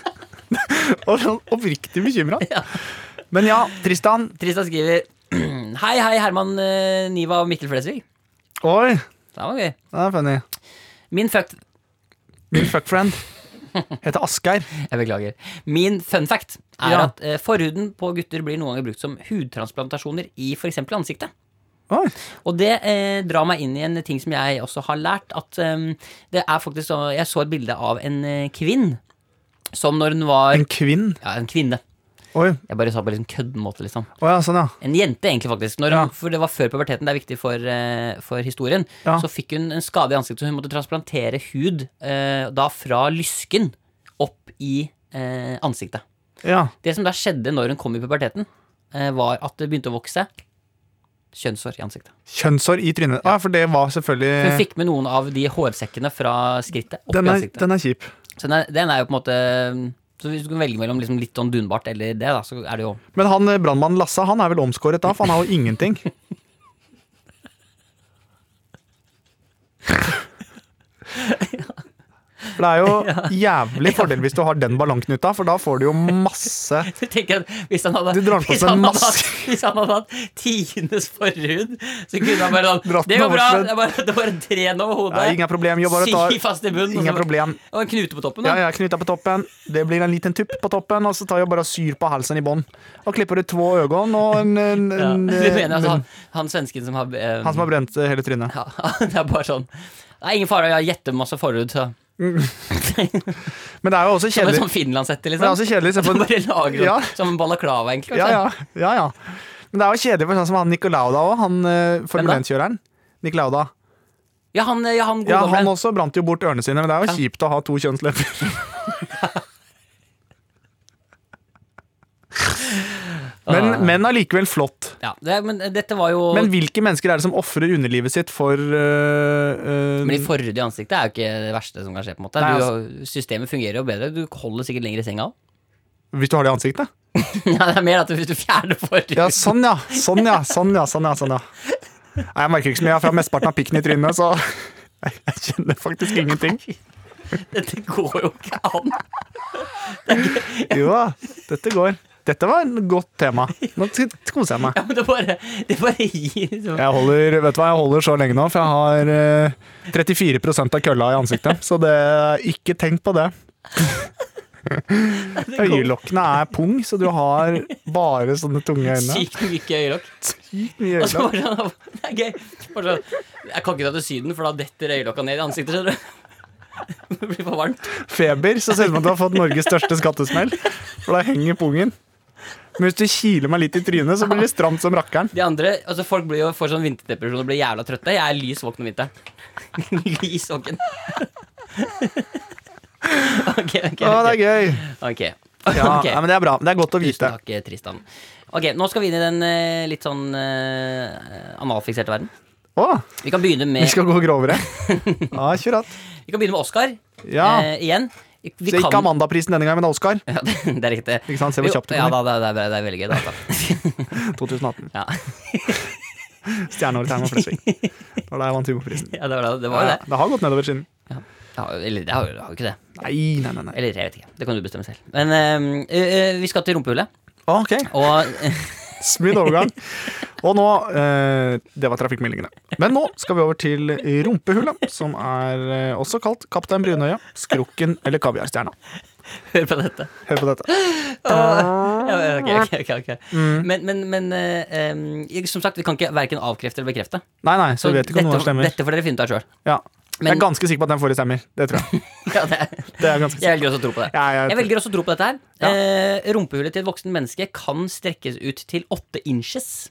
[SPEAKER 2] Og sånn oppriktig bekymra. Men ja, Tristan.
[SPEAKER 3] Tristan skriver Hei, hei, Herman eh, Niva og Mikkel Flesvig.
[SPEAKER 2] Oi, det
[SPEAKER 3] Det var gøy.
[SPEAKER 2] er funny.
[SPEAKER 3] Min fuck
[SPEAKER 2] Min fuckfriend heter Asgeir.
[SPEAKER 3] Jeg beklager. Min fun fact er
[SPEAKER 2] Ja.
[SPEAKER 3] at eh, forhuden på gutter blir noen ganger brukt som hudtransplantasjoner i f.eks. ansiktet.
[SPEAKER 2] Oi.
[SPEAKER 3] Og det eh, drar meg inn i en ting som jeg også har lært. At eh, det er faktisk så, Jeg så et bilde av en eh, kvinn som når hun var
[SPEAKER 2] En kvinn.
[SPEAKER 3] Ja, en kvinne.
[SPEAKER 2] Oi.
[SPEAKER 3] Jeg bare sa på en liksom køddemåte, liksom.
[SPEAKER 2] Å ja, sånn, ja.
[SPEAKER 3] En jente, egentlig, faktisk. Når, For det var før puberteten, det er viktig for, eh, for historien.
[SPEAKER 2] Ja.
[SPEAKER 3] Så fikk hun en skade i ansiktet, så hun måtte transplantere hud eh, da fra lysken opp i eh, ansiktet.
[SPEAKER 2] ja.
[SPEAKER 3] Det som da skjedde når hun kom i puberteten, eh, var at det begynte å vokse kjønnshår i ansiktet.
[SPEAKER 2] Kjønnshår i trynet. Ja, for det var
[SPEAKER 3] Hun
[SPEAKER 2] selvfølgelig
[SPEAKER 3] fikk med noen av de hårsekkene fra skrittet opp
[SPEAKER 2] Den
[SPEAKER 3] i
[SPEAKER 2] er,
[SPEAKER 3] ansiktet.
[SPEAKER 2] den er kjip.
[SPEAKER 3] Så den er, den er jo på en måte mm, Så hvis du kan velge mellom liksom litt sånn dunbart eller det, da, så er det jo
[SPEAKER 2] Men han eh, brannmannen Lasse han er vel omskåret da, for han har jo ingenting. For det er jo jævlig fordel hvis du har den ballongknuta, for da får du jo masse
[SPEAKER 3] Du tenker at hvis han hadde
[SPEAKER 2] Du drar på
[SPEAKER 3] hvis
[SPEAKER 2] seg
[SPEAKER 3] han
[SPEAKER 2] en
[SPEAKER 3] hadde
[SPEAKER 2] maske.
[SPEAKER 3] hatt- Hvis han hadde hatt tiendes forhud, så kunne han bare sånn
[SPEAKER 2] Dratt
[SPEAKER 3] Det
[SPEAKER 2] den
[SPEAKER 3] går
[SPEAKER 2] over
[SPEAKER 3] bra.
[SPEAKER 2] sledd."
[SPEAKER 3] Det er bare, det er bare tren over hodet.
[SPEAKER 2] Nei, ingen problem, jeg bare tar-
[SPEAKER 3] Si fast i bunnen. og så
[SPEAKER 2] Ingen
[SPEAKER 3] bare-
[SPEAKER 2] problem.
[SPEAKER 3] Og en knute på toppen, da.
[SPEAKER 2] Ja, ja, knyta på toppen. Det blir en liten tupp på toppen, og så tar jeg bare og syr på halsen i bånn. Og klipper ut to øyne og en, en,
[SPEAKER 3] Ja.
[SPEAKER 2] en,
[SPEAKER 3] Du mener altså han,
[SPEAKER 2] munn.
[SPEAKER 3] han svensken som har eh,
[SPEAKER 2] eh, Han som har brent eh, hele trynet.
[SPEAKER 3] ja, Det er bare sånn Det er ingen fare, jeg har jettemasse forhud, så
[SPEAKER 2] Mm. Men det er jo også
[SPEAKER 3] Som en
[SPEAKER 2] kjedelig.
[SPEAKER 3] sånn finlandshette,
[SPEAKER 2] Men det er
[SPEAKER 3] liksom.
[SPEAKER 2] også kjedelig se på-
[SPEAKER 3] Som bare lager
[SPEAKER 2] Ja.
[SPEAKER 3] opp som en balaklava, egentlig.
[SPEAKER 2] Ja,
[SPEAKER 3] kanskje.
[SPEAKER 2] ja, ja, ja. Men det er jo kjedelig for sånn som han Nicolau da òg, han eh, Formel
[SPEAKER 3] Hvem
[SPEAKER 2] 1-kjøreren. Nicolau da.
[SPEAKER 3] ja, han, eh, ja, han gode
[SPEAKER 2] Ja,
[SPEAKER 3] gamle.
[SPEAKER 2] han også brant jo bort ørene sine, men det er jo kjipt å ha to kjønnslepper.
[SPEAKER 3] Ah.
[SPEAKER 2] Men, men allikevel flott.
[SPEAKER 3] Ja, det, men eh, dette var jo
[SPEAKER 2] Men
[SPEAKER 3] Men,
[SPEAKER 2] hvilke mennesker er det som ofrer underlivet sitt for eh, eh,
[SPEAKER 3] de forhud i ansiktet er jo ikke det verste som kan skje. på en måte
[SPEAKER 2] Nei, altså-
[SPEAKER 3] du, Systemet fungerer jo bedre. Du holder sikkert lenger i senga.
[SPEAKER 2] Hvis du har det i ansiktet?
[SPEAKER 3] ja, det er mer at hvis du fjerner forhud
[SPEAKER 2] Ja, sånn ja. Sånn ja. Sånn ja. Sånn ja. Sånn, ja. Nei, jeg merker ikke så mye. Jeg har fra mesteparten av pikken i trynet, så jeg, jeg kjenner faktisk ingenting.
[SPEAKER 3] Dette går jo ikke an.
[SPEAKER 2] Jo da, dette går. Dette var et godt tema. Nå t- koser jeg meg.
[SPEAKER 3] Ja, men det bare, det bare gir liksom.
[SPEAKER 2] Jeg holder, vet du hva, jeg holder så lenge nå, for jeg har eh, 34 av kølla i ansiktet. Så det, ikke tenk på det. Øyelokkene er pung, så du har bare sånne tunge øyne.
[SPEAKER 3] Sykt mye øyelokk.
[SPEAKER 2] Sykt mye
[SPEAKER 3] Og så
[SPEAKER 2] øyelokk.
[SPEAKER 3] bare sånn, Det er gøy. Bare sånn, jeg kan ikke dra til Syden, for da detter øyelokka ned i ansiktet. skjønner du Det blir for varmt.
[SPEAKER 2] feber, så ser det ut som at du har fått Norges største skattesmell. For da henger pungen. Men hvis du kiler meg litt i trynet, så blir det stramt som rakkeren.
[SPEAKER 3] De andre, altså Folk blir jo, får sånn vinterdepresjon og blir jævla trøtte. Jeg er lys våken om vinteren. lys våken. ok, ok.
[SPEAKER 2] Å, det
[SPEAKER 3] ok.
[SPEAKER 2] er gøy!
[SPEAKER 3] Ok.
[SPEAKER 2] Ja,
[SPEAKER 3] Ok.
[SPEAKER 2] nei, men det er bra. Det er godt å
[SPEAKER 3] Tusen
[SPEAKER 2] vite.
[SPEAKER 3] takk, Tristan. Ok, Nå skal vi inn i den eh, litt sånn eh, analfikserte verden.
[SPEAKER 2] Å,
[SPEAKER 3] Vi kan begynne med,
[SPEAKER 2] vi skal gå grovere. Ja, akkurat.
[SPEAKER 3] vi kan begynne med Oscar
[SPEAKER 2] Ja.
[SPEAKER 3] eh, igjen. Vi, vi
[SPEAKER 2] Så ikke
[SPEAKER 3] kan-
[SPEAKER 2] Amandaprisen denne gangen, men Oscar.
[SPEAKER 3] Ja, det, det er riktig.
[SPEAKER 2] Ikke sant, se hvor
[SPEAKER 3] Jo,
[SPEAKER 2] kjapt det
[SPEAKER 3] ja,
[SPEAKER 2] kommer.
[SPEAKER 3] da, da, det, er, det er veldig gøy. Da, da.
[SPEAKER 2] 2018.
[SPEAKER 3] Ja.
[SPEAKER 2] Stjerneåret til Herman Flesvig. Det var da jeg vant Humorprisen.
[SPEAKER 3] Ja, det, var, det, det var jo
[SPEAKER 2] Ja,
[SPEAKER 3] det.
[SPEAKER 2] det har gått nedover siden.
[SPEAKER 3] Ja, eller det har jo- det har jo ikke det.
[SPEAKER 2] Nei, nei, nei. nei.
[SPEAKER 3] Eller jeg vet ikke. Det kan du bestemme selv. Men eh, eh, eh, vi skal til rumpehullet.
[SPEAKER 2] Ok,
[SPEAKER 3] Og
[SPEAKER 2] Smooth overgang. Og nå eh, Det var trafikkmeldingene. Men nå skal vi over til rumpehullet, som er eh, også kalt Kaptein Brunøya, Skrukken eller Kaviarstjerna.
[SPEAKER 3] hør på dette.
[SPEAKER 2] Hør på dette.
[SPEAKER 3] Ja, ok, ok, ok, ok.
[SPEAKER 2] Mm.
[SPEAKER 3] Men, men, men eh, em, jeg- som sagt, vi kan ikke verken avkrefte eller bekrefte.
[SPEAKER 2] Nei, nei, så, vet ikke om noe stemmer.
[SPEAKER 3] dette får dere finne ut av sjøl.
[SPEAKER 2] Ja. Jeg
[SPEAKER 3] Men-
[SPEAKER 2] er ganske sikker på at den forrige stemmer. Det tror jeg.
[SPEAKER 3] Ja, det-
[SPEAKER 2] Det er jeg ganske sikker.
[SPEAKER 3] jeg velger også å tro på det.
[SPEAKER 2] Ja, jeg-
[SPEAKER 3] Jeg velger også å tro på dette her.
[SPEAKER 2] Ja.
[SPEAKER 3] Eh, rumpehullet til et voksen menneske kan strekkes ut til åtte inches.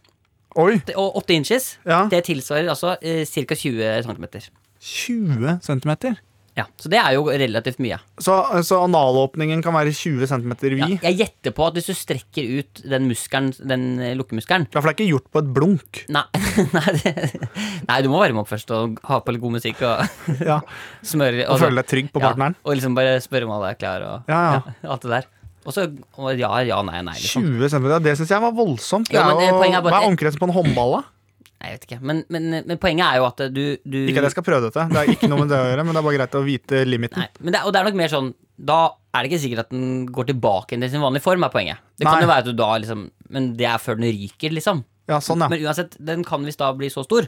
[SPEAKER 2] Oi!
[SPEAKER 3] Det- Og åtte inches
[SPEAKER 2] Ja.
[SPEAKER 3] Det tilsvarer altså eh, ca. 20 cm.
[SPEAKER 2] 20 cm.
[SPEAKER 3] Ja, så det er jo relativt mye.
[SPEAKER 2] Så, så analåpningen kan være 20 cm vid?
[SPEAKER 3] Ja, jeg gjetter på at hvis du strekker ut den muskelen, den eh, lukkemuskelen
[SPEAKER 2] Ja, For det er ikke gjort på et blunk.
[SPEAKER 3] Nei, nei, det, nei, du må varme opp først og ha på litt god musikk og
[SPEAKER 2] Ja.
[SPEAKER 3] smøre
[SPEAKER 2] Og føle deg trygg på partneren.
[SPEAKER 3] Ja, og liksom bare spørre om alle er klar og
[SPEAKER 2] Ja, ja.
[SPEAKER 3] alt det der. Og så og ja, ja, nei, nei, liksom.
[SPEAKER 2] 20 cm, det syns jeg var voldsomt. Det
[SPEAKER 3] Ja,
[SPEAKER 2] er
[SPEAKER 3] men, eh,
[SPEAKER 2] jo,
[SPEAKER 3] poenget er bare-
[SPEAKER 2] hva er omkretsen på en håndball, da?
[SPEAKER 3] Nei, jeg vet ikke. Men, men, men poenget er jo at du, du
[SPEAKER 2] Ikke at jeg skal prøve dette, det er ikke noe med det å gjøre, men det er bare greit å vite limiten.
[SPEAKER 3] Nei, men det, er- Og det er nok mer sånn Da er det ikke sikkert at den går tilbake til sin vanlige form, er poenget. Det
[SPEAKER 2] Nei.
[SPEAKER 3] kan jo være at du da liksom Men det er før den ryker, liksom.
[SPEAKER 2] Ja, sånn, ja.
[SPEAKER 3] Men uansett, den kan visst da bli så stor.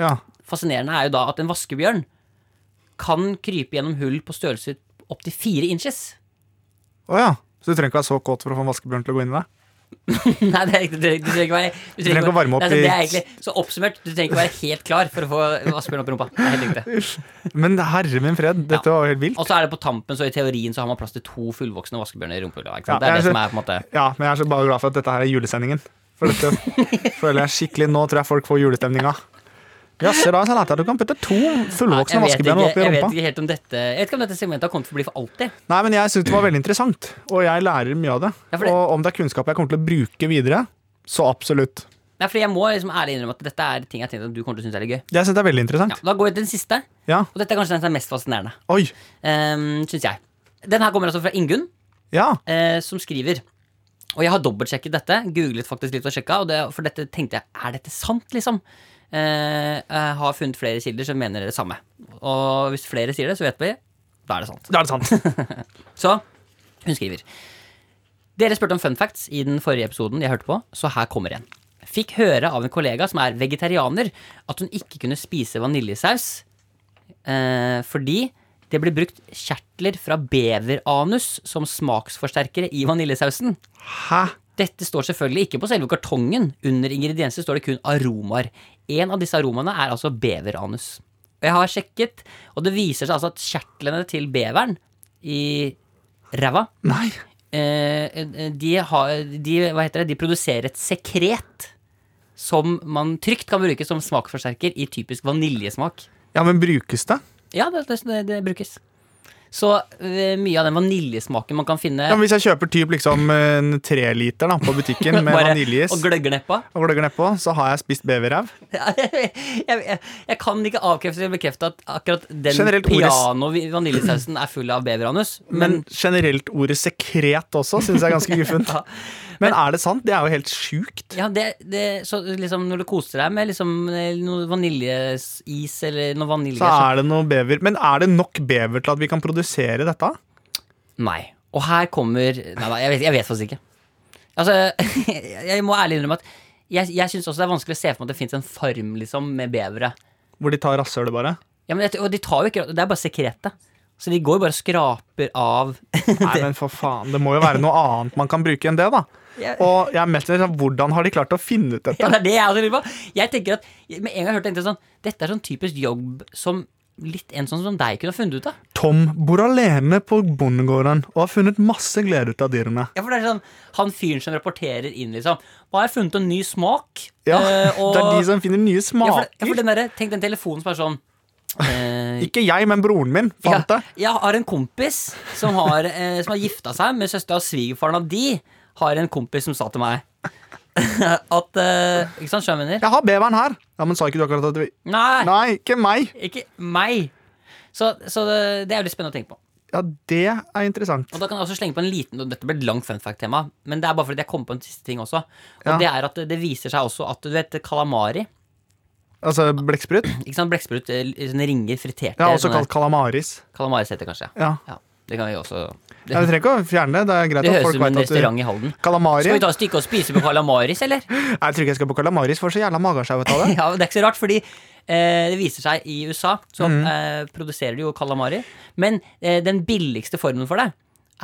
[SPEAKER 2] ja.
[SPEAKER 3] Fascinerende er jo da at en vaskebjørn kan krype gjennom hull på størrelse opptil fire inches.
[SPEAKER 2] Å ja. Så du trenger ikke være så kåt for å få en vaskebjørn til å gå inn i deg?
[SPEAKER 3] Nei, det er riktig. Du trenger- du trenger ikke være Du
[SPEAKER 2] trenger ikke å varme opp
[SPEAKER 3] Nei, så det er
[SPEAKER 2] i-
[SPEAKER 3] egentlig, Så oppsummert, du trenger ikke være helt klar for å få vaskebjørn opp i rumpa. Det er helt riktig.
[SPEAKER 2] Men herre min fred, dette var jo helt vilt.
[SPEAKER 3] Og så er det på tampen, så i teorien så har man plass til to fullvoksne vaskebjørner i rumpehullet. ikke sant?
[SPEAKER 2] Ja, altså,
[SPEAKER 3] det er
[SPEAKER 2] jeg
[SPEAKER 3] det som
[SPEAKER 2] ser-
[SPEAKER 3] er på en måte
[SPEAKER 2] Ja, men jeg er så bare glad for at dette her er julesendingen. For dette føler jeg skikkelig Nå tror jeg folk får julestemninga. Jaså, da, Salata, du kan putte to fullvoksne
[SPEAKER 3] jeg vet, ikke,
[SPEAKER 2] vaskebjørn opp i
[SPEAKER 3] jeg vet
[SPEAKER 2] rumpa.
[SPEAKER 3] ikke helt om dette Jeg vet ikke om dette segmentet har kommet til å bli for alltid.
[SPEAKER 2] Nei, men jeg syns det var veldig interessant, og jeg lærer mye av det.
[SPEAKER 3] Ja, for det-
[SPEAKER 2] Og om det er kunnskap jeg kommer til å bruke videre, så absolutt.
[SPEAKER 3] Nei, for jeg må liksom ærlig innrømme at dette er ting jeg tenkte at du kommer til å synes er litt gøy.
[SPEAKER 2] Jeg syns det er veldig
[SPEAKER 3] Ja,
[SPEAKER 2] interessant.
[SPEAKER 3] da går vi til den siste,
[SPEAKER 2] Ja.
[SPEAKER 3] og dette er kanskje den som er mest fascinerende.
[SPEAKER 2] Oi.
[SPEAKER 3] Um, synes jeg. Den her kommer altså fra Ingunn,
[SPEAKER 2] Ja.
[SPEAKER 3] eh, som skriver Og jeg har dobbeltsjekket dette, googlet faktisk litt og sjekka, og det, for dette tenkte jeg er dette sant, liksom? Eh, jeg har funnet flere kilder som mener det samme. Og hvis flere sier det, så vet vi. Da er det sant.
[SPEAKER 2] Da er det sant.
[SPEAKER 3] Så hun skriver Dere spurte om fun facts i den forrige episoden jeg hørte på, så her kommer en. Fikk høre av en kollega som er vegetarianer, at hun ikke kunne spise vaniljesaus eh, fordi det ble brukt kjertler fra beveranus som smaksforsterkere i vaniljesausen.
[SPEAKER 2] Hæ?
[SPEAKER 3] Dette står selvfølgelig ikke på selve kartongen. Under ingredienser står det kun aromaer. En av disse aromaene er altså beveranus. Og jeg har sjekket, og det viser seg altså at kjertlene til beveren i ræva
[SPEAKER 2] Nei.
[SPEAKER 3] eh, de, har, de, hva heter det, de produserer et sekret som man trygt kan bruke som smaksforsterker i typisk vaniljesmak.
[SPEAKER 2] Ja, men brukes det?
[SPEAKER 3] Ja, det, det, det, det brukes. Så eh, mye av den vaniljesmaken man kan finne
[SPEAKER 2] Ja, men Hvis jeg kjøper typ liksom en treliter da, på butikken med
[SPEAKER 3] bare-
[SPEAKER 2] vaniljeis
[SPEAKER 3] og gløgger nedpå
[SPEAKER 2] og gløgger nedpå, så har jeg spist beverræv.
[SPEAKER 3] jeg, jeg, jeg kan ikke avkrefte eller bekrefte at akkurat den
[SPEAKER 2] Generelt ordet s- Mm.
[SPEAKER 3] piano-vaniljesausen er full av beveranus. Men
[SPEAKER 2] Men generelt ordet sekret også syns jeg er ganske guffent.
[SPEAKER 3] Ja.
[SPEAKER 2] Men er det sant? Det er jo helt sjukt.
[SPEAKER 3] ja, det, det, så liksom når du koser deg med liksom, eh, noe vaniljeis eller noe vanilje
[SPEAKER 2] Så er det noe bever. Men er det nok bever til at vi kan produsere dette?
[SPEAKER 3] Nei. Og her kommer Nei da, jeg vet, jeg vet faktisk ikke. Altså, jeg må ærlig innrømme at jeg, jeg syns også det er vanskelig å se for meg at det fins en farm liksom, med bevere.
[SPEAKER 2] Hvor de tar rasshølet, bare?
[SPEAKER 3] Ja, men, det- og de tar jo ikke Det er bare sekretet. Så de går jo bare og skraper av
[SPEAKER 2] Nei, men for faen. Det må jo være noe annet man kan bruke enn det, da.
[SPEAKER 3] Jeg-
[SPEAKER 2] Og jeg er mest nysgjerrig på hvordan har de klart å finne ut
[SPEAKER 3] Ja,
[SPEAKER 2] dette?
[SPEAKER 3] det er det jeg også lurer på. Jeg tenker at Med en gang jeg hørte tenkte jeg sånn Dette er sånn typisk jobb som litt en sånn som deg kunne ha funnet ut av.
[SPEAKER 2] Tom bor alene på bondegården og har funnet masse glede ut av dyrene.
[SPEAKER 3] Ja, for det er sånn Han fyren som rapporterer inn, liksom. Nå har jeg funnet en ny smak.
[SPEAKER 2] Ja,
[SPEAKER 3] eh, og-
[SPEAKER 2] Det er de som finner nye
[SPEAKER 3] ja, for, ja, for
[SPEAKER 2] smaker.
[SPEAKER 3] den derre Tenk den telefonen som er sånn eh,
[SPEAKER 2] Ikke jeg, men broren min fant det.
[SPEAKER 3] ja, Jeg har en kompis som har, eh, som har gifta seg med søstera og svigerfaren av de. Har en kompis som sa til meg at eh, Ikke sant, skjønner du hva jeg mener?
[SPEAKER 2] Jeg har beveren her. Ja, Men sa ikke du akkurat at vi
[SPEAKER 3] Nei,
[SPEAKER 2] Nei, ikke meg.
[SPEAKER 3] ikke meg. Så, så det, det er jo litt spennende å tenke på.
[SPEAKER 2] Ja, det er interessant.
[SPEAKER 3] Og da kan jeg også slenge på en liten og Dette ble et langt fun fact-tema, men det er bare fordi jeg kom på en siste ting også. Og
[SPEAKER 2] Ja.
[SPEAKER 3] det er at det, det viser seg også at du vet kalamari.
[SPEAKER 2] Altså blekksprut.
[SPEAKER 3] Ikke sant, Blekksprut, eh, sånne ringer, friterte
[SPEAKER 2] Ja, også
[SPEAKER 3] sånne-
[SPEAKER 2] kalt kalamaris.
[SPEAKER 3] Kalamaris heter det kanskje.
[SPEAKER 2] Ja.
[SPEAKER 3] Ja, det kan vi også
[SPEAKER 2] Ja, Vi trenger ikke å fjerne det. Det er greit
[SPEAKER 3] Det
[SPEAKER 2] at
[SPEAKER 3] høres ut
[SPEAKER 2] folk
[SPEAKER 3] som
[SPEAKER 2] vet
[SPEAKER 3] en
[SPEAKER 2] at du
[SPEAKER 3] restaurant i Halden.
[SPEAKER 2] Kalamari?
[SPEAKER 3] Skal vi
[SPEAKER 2] Nei,
[SPEAKER 3] ta et stykke og spise på kalamaris, eller?
[SPEAKER 2] Jeg tror ikke jeg skal på kalamaris, for så jævla magesjau ut av det.
[SPEAKER 3] Ja, men Det er ikke så rart, fordi eh, det viser seg i USA, så
[SPEAKER 2] Mhm.
[SPEAKER 3] eh, produserer de jo kalamari. Men eh, den billigste formen for det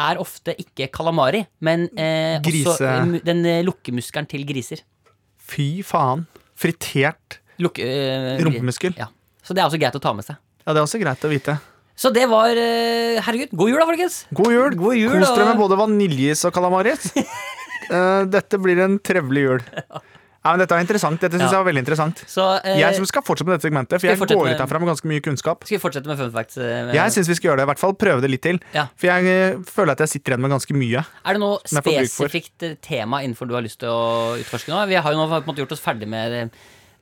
[SPEAKER 3] er ofte ikke kalamari, men eh, også
[SPEAKER 2] Grise-
[SPEAKER 3] eh, mu- den eh, lukkemuskelen til griser.
[SPEAKER 2] Fy faen. Fritert
[SPEAKER 3] Lukke, eh,
[SPEAKER 2] rumpemuskel.
[SPEAKER 3] Ja. Så det er også greit å ta med seg.
[SPEAKER 2] Ja, det er også greit å vite.
[SPEAKER 3] Så det var eh, Herregud, god jul da, folkens!
[SPEAKER 2] God jul.
[SPEAKER 3] God jul,
[SPEAKER 2] Kos dere
[SPEAKER 3] og-
[SPEAKER 2] med både vaniljeis og kalamaris. Eh, dette blir en trevelig jul. Nei, men Dette er interessant. Dette synes
[SPEAKER 3] Ja.
[SPEAKER 2] jeg var veldig interessant.
[SPEAKER 3] Så eh,
[SPEAKER 2] Jeg som skal fortsette med dette segmentet, for
[SPEAKER 3] skal jeg
[SPEAKER 2] jeg
[SPEAKER 3] fortsette
[SPEAKER 2] går
[SPEAKER 3] med-
[SPEAKER 2] ut herfra med ganske mye kunnskap.
[SPEAKER 3] skal vi fortsette med fun facts. eh, med-
[SPEAKER 2] Jeg syns vi skal gjøre det. I hvert fall prøve det litt til.
[SPEAKER 3] Ja.
[SPEAKER 2] For jeg eh, føler at jeg sitter igjen med ganske mye.
[SPEAKER 3] er det noe
[SPEAKER 2] jeg får bruk for.
[SPEAKER 3] spesifikt eh, tema innenfor du har lyst til å utforske nå? Vi har jo nå på en måte gjort oss ferdig med eh,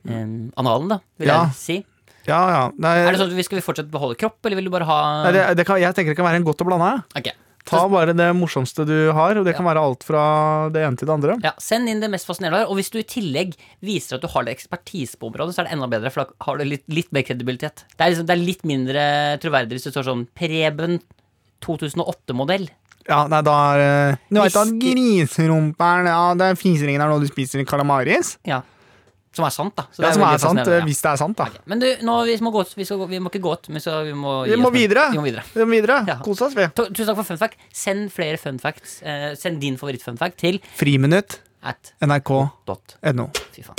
[SPEAKER 3] eh, analen, da, vil
[SPEAKER 2] Ja.
[SPEAKER 3] jeg si.
[SPEAKER 2] Ja, ja. Nei,
[SPEAKER 3] Er det sånn at vi Skal vi fortsatt beholde kropp, eller vil du bare ha
[SPEAKER 2] nei, det, det kan, jeg tenker det kan være en godt å blande. jeg.
[SPEAKER 3] Ok.
[SPEAKER 2] Ta bare det morsomste du har, og det kan være alt fra det ene til det andre.
[SPEAKER 3] Ja, Send inn det mest fascinerende du har. Og hvis du i tillegg viser at du har litt ekspertise på området, så er det enda bedre, for da har du litt, litt mer kredibilitet. Det er, liksom, det er litt mindre troverdig hvis det står sånn Preben 2008-modell.
[SPEAKER 2] Ja, nei, da er eh, Du vet at
[SPEAKER 3] Hvis-
[SPEAKER 2] griserumperen Ja, det er fiseringen er noe du spiser i kalamaris.
[SPEAKER 3] Ja. Som er sant, da. Så
[SPEAKER 2] Ja,
[SPEAKER 3] det er
[SPEAKER 2] som
[SPEAKER 3] veldig
[SPEAKER 2] er sant,
[SPEAKER 3] fascinerende,
[SPEAKER 2] eh, hvis det er sant, da.
[SPEAKER 3] ja. Men du, nå, vi, må gå, ut. vi, skal, gå- vi må ikke gå ut, men så vi må gi
[SPEAKER 2] Vi må
[SPEAKER 3] oss med.
[SPEAKER 2] videre.
[SPEAKER 3] Vi må videre.
[SPEAKER 2] Vi må videre.
[SPEAKER 3] Ja.
[SPEAKER 2] Kos oss, vi.
[SPEAKER 3] Tu- Tusen takk for fun fact. Send flere fun facts. Eh, send din favoritt-fun fact til
[SPEAKER 2] Friminutt.
[SPEAKER 3] at
[SPEAKER 2] NRK.no.
[SPEAKER 3] dot Fy faen.